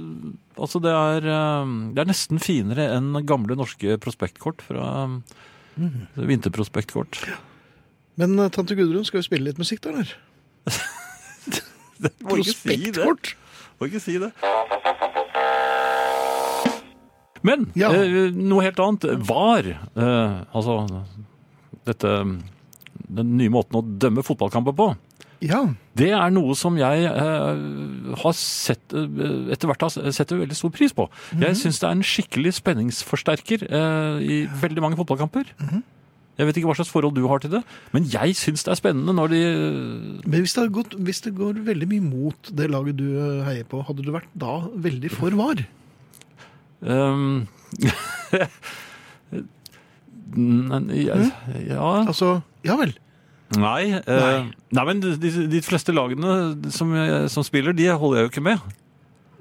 Speaker 3: altså, det er, eh, det er nesten finere enn gamle norske prospektkort fra eh, Vinterprospektkort.
Speaker 2: Men eh, tante Gudrun, skal vi spille litt musikk da, eller?
Speaker 3: Må ikke si det.
Speaker 2: Prospektkort?
Speaker 3: Må ikke si det. Men
Speaker 2: Ja.
Speaker 3: eh, noe helt annet. VAR, eh, altså dette Den nye måten å dømme fotballkamper på.
Speaker 2: Ja.
Speaker 3: Det er noe som jeg eh, har sett, eh, etter hvert har sett veldig stor pris på. Jeg syns det er en skikkelig spenningsforsterker eh, i veldig mange fotballkamper. Jeg vet ikke hva slags forhold du har til det, men jeg syns det er spennende når de
Speaker 2: Men hvis det, har gått, hvis det går veldig mye mot det laget du eh, heier på, hadde du vært da veldig for var?
Speaker 3: Ehm, Nei, jeg, ja
Speaker 2: Altså, ja vel.
Speaker 3: Nei. eh,
Speaker 2: Nei.
Speaker 3: nei, men de, de de fleste lagene som, jeg- som spiller, de holder jeg jo ikke med.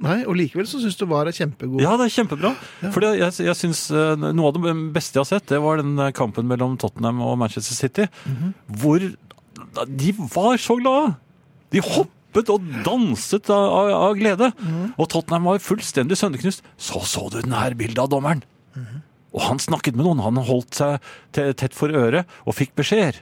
Speaker 2: Nei, og likevel så syns du var er kjempegod.
Speaker 3: Ja, det er kjempebra. Fordi jeg, jeg synes eh, Noe av det beste jeg har sett, det var den eh, kampen mellom Tottenham og Manchester City. Hvor de var så glade! De hoppet og danset av, av, av glede. Og Tottenham var fullstendig sønderknust. Så så du den her bildet av dommeren! Og han snakket med noen. Han holdt seg te- tett for øret og fikk beskjeder.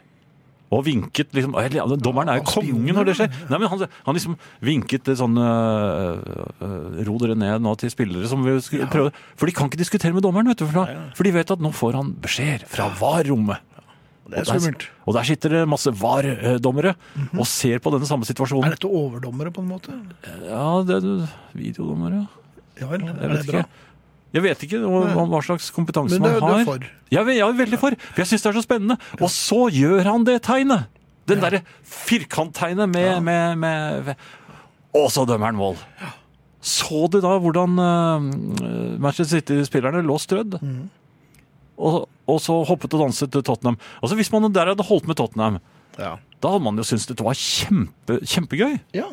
Speaker 3: Og vinket liksom eller, ja, Dommeren er jo
Speaker 2: Ja, han
Speaker 3: kongen når det skjer. Nei, men han, han liksom vinket det sånn øh, øh, Ro dere ned nå til spillere som vil skulle prøve For de kan ikke diskutere med dommeren, vet du. For, da, for de vet at nå får han beskjeder fra VAR-rommet.
Speaker 2: Det er
Speaker 3: Og der-
Speaker 2: skummelt. Mhm.
Speaker 3: Og der sitter det masse VAR-dommere og ser på denne samme situasjonen.
Speaker 2: Er dette overdommere, på en måte?
Speaker 3: Ja, det er videodommere.
Speaker 2: Ja vel,
Speaker 3: Jeg
Speaker 2: er det
Speaker 3: vet
Speaker 2: bra?
Speaker 3: ikke. Jeg vet ikke hva, hva- hva slags kompetanse
Speaker 2: Men det
Speaker 3: man
Speaker 2: er du
Speaker 3: har.
Speaker 2: er for.
Speaker 3: Jeg, er- jeg er veldig for, for jeg syns det er så spennende. Og så gjør han det tegnet! Den derre firkanttegnet med, med, med, med Og så dømmer han mål! Så du da hvordan eh, Manchester City-spillerne lå strødd?
Speaker 2: Mm.
Speaker 3: Og, og så hoppet og danset til Tottenham. Altså Hvis man der hadde holdt med Tottenham,
Speaker 2: Ja.
Speaker 3: da hadde man jo syntes det var kjempe, kjempegøy.
Speaker 2: ja.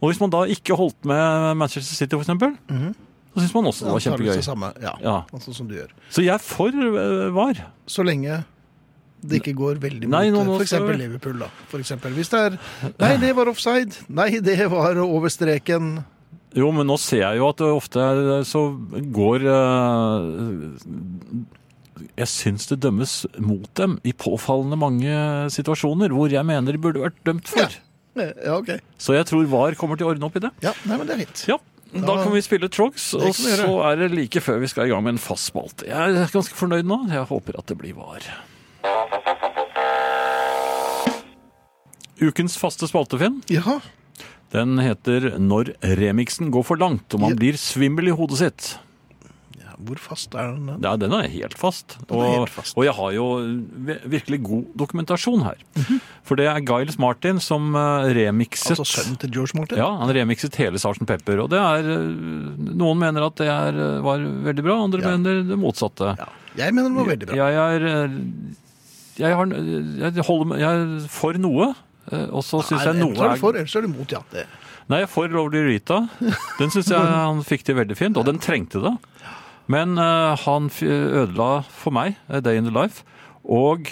Speaker 3: Og hvis man da ikke holdt med Manchester City, for eksempel,
Speaker 2: Mm.
Speaker 3: så syns man også det
Speaker 2: Da
Speaker 3: var
Speaker 2: tar vi
Speaker 3: kjempegøy.
Speaker 2: det samme. Ja.
Speaker 3: Ja.
Speaker 2: Altså som du gjør.
Speaker 3: Så jeg er for eh, var.
Speaker 2: Så lenge det ikke går veldig
Speaker 3: Nei, nå- nå
Speaker 2: mot f.eks.
Speaker 3: skal vi-
Speaker 2: Liverpool, da. For eksempel. Hvis det er Nei, det var offside. Nei, det var over streken.
Speaker 3: Jo, men nå ser jeg jo at det ofte er- eh, så går eh, Jeg syns det dømmes mot dem i påfallende mange situasjoner hvor jeg mener de burde vært dømt for.
Speaker 2: Ja. Eh, Ja, OK.
Speaker 3: Så jeg tror VAR kommer til å ordne opp i det.
Speaker 2: Ja, nei, men det er fint.
Speaker 3: Ja, da kan vi spille Trogs,
Speaker 2: kan
Speaker 3: og
Speaker 2: vi gjøre.
Speaker 3: så er det like før vi skal i gang med en fast spalte. Jeg er ganske fornøyd nå. Jeg håper at det blir var. Ukens faste spalte, Finn,
Speaker 2: Ja.
Speaker 3: den heter 'Når remixen går for langt og man
Speaker 2: Ja.
Speaker 3: blir svimmel i hodet sitt'.
Speaker 2: ja. Hvor fast er den?
Speaker 3: Ja, den er helt fast.
Speaker 2: er
Speaker 3: Og,
Speaker 2: helt fast.
Speaker 3: og jeg har jo vi- virkelig god dokumentasjon her. For det er Giles Martin som eh, remixet
Speaker 2: Altså sønnen til George Martin?
Speaker 3: Ja, han remixet hele Sgt. Pepper, og det er øh, Noen mener at det er, øh, var veldig bra, andre
Speaker 2: Ja.
Speaker 3: mener det motsatte.
Speaker 2: Ja. Jeg mener den var veldig bra.
Speaker 3: Jeg er øh, jeg, har, jeg, holder, med- jeg er for noe, øh, og så syns jeg
Speaker 2: Nei,
Speaker 3: noe
Speaker 2: enten så er
Speaker 3: er
Speaker 2: du for, ellers er du imot, ja. Det.
Speaker 3: Nei, jeg er for Lovely Rita. Den syns jeg han fikk til veldig fint, og den trengte det. Men øh, han f- ødela for meg A Day in the Life, og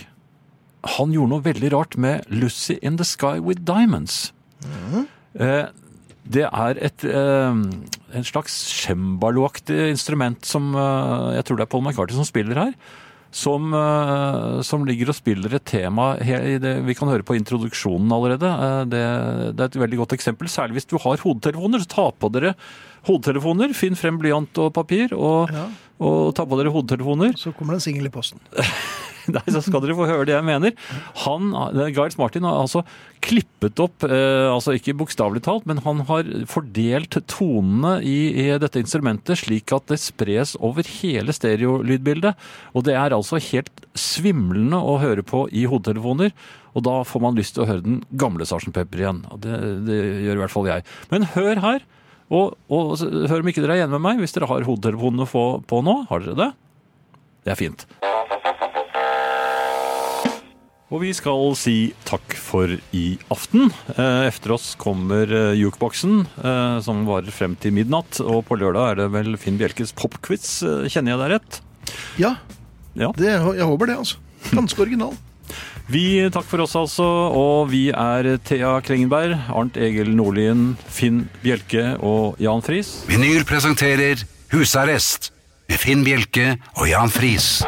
Speaker 3: han gjorde noe veldig rart med Lucy in the Sky with Diamonds. Eh, det er et eh, en slags cembaloaktig instrument som eh, jeg tror det er Paul McCartney som spiller her. Som, eh, som ligger og spiller et tema he- i det, Vi kan høre på introduksjonen allerede. Eh, det, det er et veldig godt eksempel. Særlig hvis du har hodetelefoner, så ta på dere hodetelefoner. Finn frem blyant og papir, og,
Speaker 2: Ja.
Speaker 3: og ta på dere hodetelefoner.
Speaker 2: Så kommer det en singel i posten.
Speaker 3: Nei, så skal dere få høre det jeg mener. Han, eh, Giles Martin har altså klippet opp, eh, altså ikke bokstavelig talt, men han har fordelt tonene i, i dette instrumentet slik at det spres over hele stereolydbildet. Og det er altså helt svimlende å høre på i hodetelefoner. Og da får man lyst til å høre den gamle Sarsen Pepper igjen. Og Det, det gjør i hvert fall jeg. Men hør her, og, og s- hør om ikke dere er igjen med meg, hvis dere har hodetelefonene få- på nå. Har dere det? Det er fint. Og vi skal si takk for i aften. Eh, Efter oss kommer eh, jukeboksen, eh, som varer frem til midnatt. Og på lørdag er det vel Finn Bjelkes popquiz, eh, kjenner jeg deg rett?
Speaker 2: Ja,
Speaker 3: Ja.
Speaker 2: det, jeg håper det, altså. Ganske original.
Speaker 3: Vi takker for oss, altså. Og vi er Thea Krengenberg, Arnt Egil Nordlien, Finn Bjelke og Jan Friis.
Speaker 1: Vinyl presenterer Husarrest med Finn Bjelke og Jan Friis.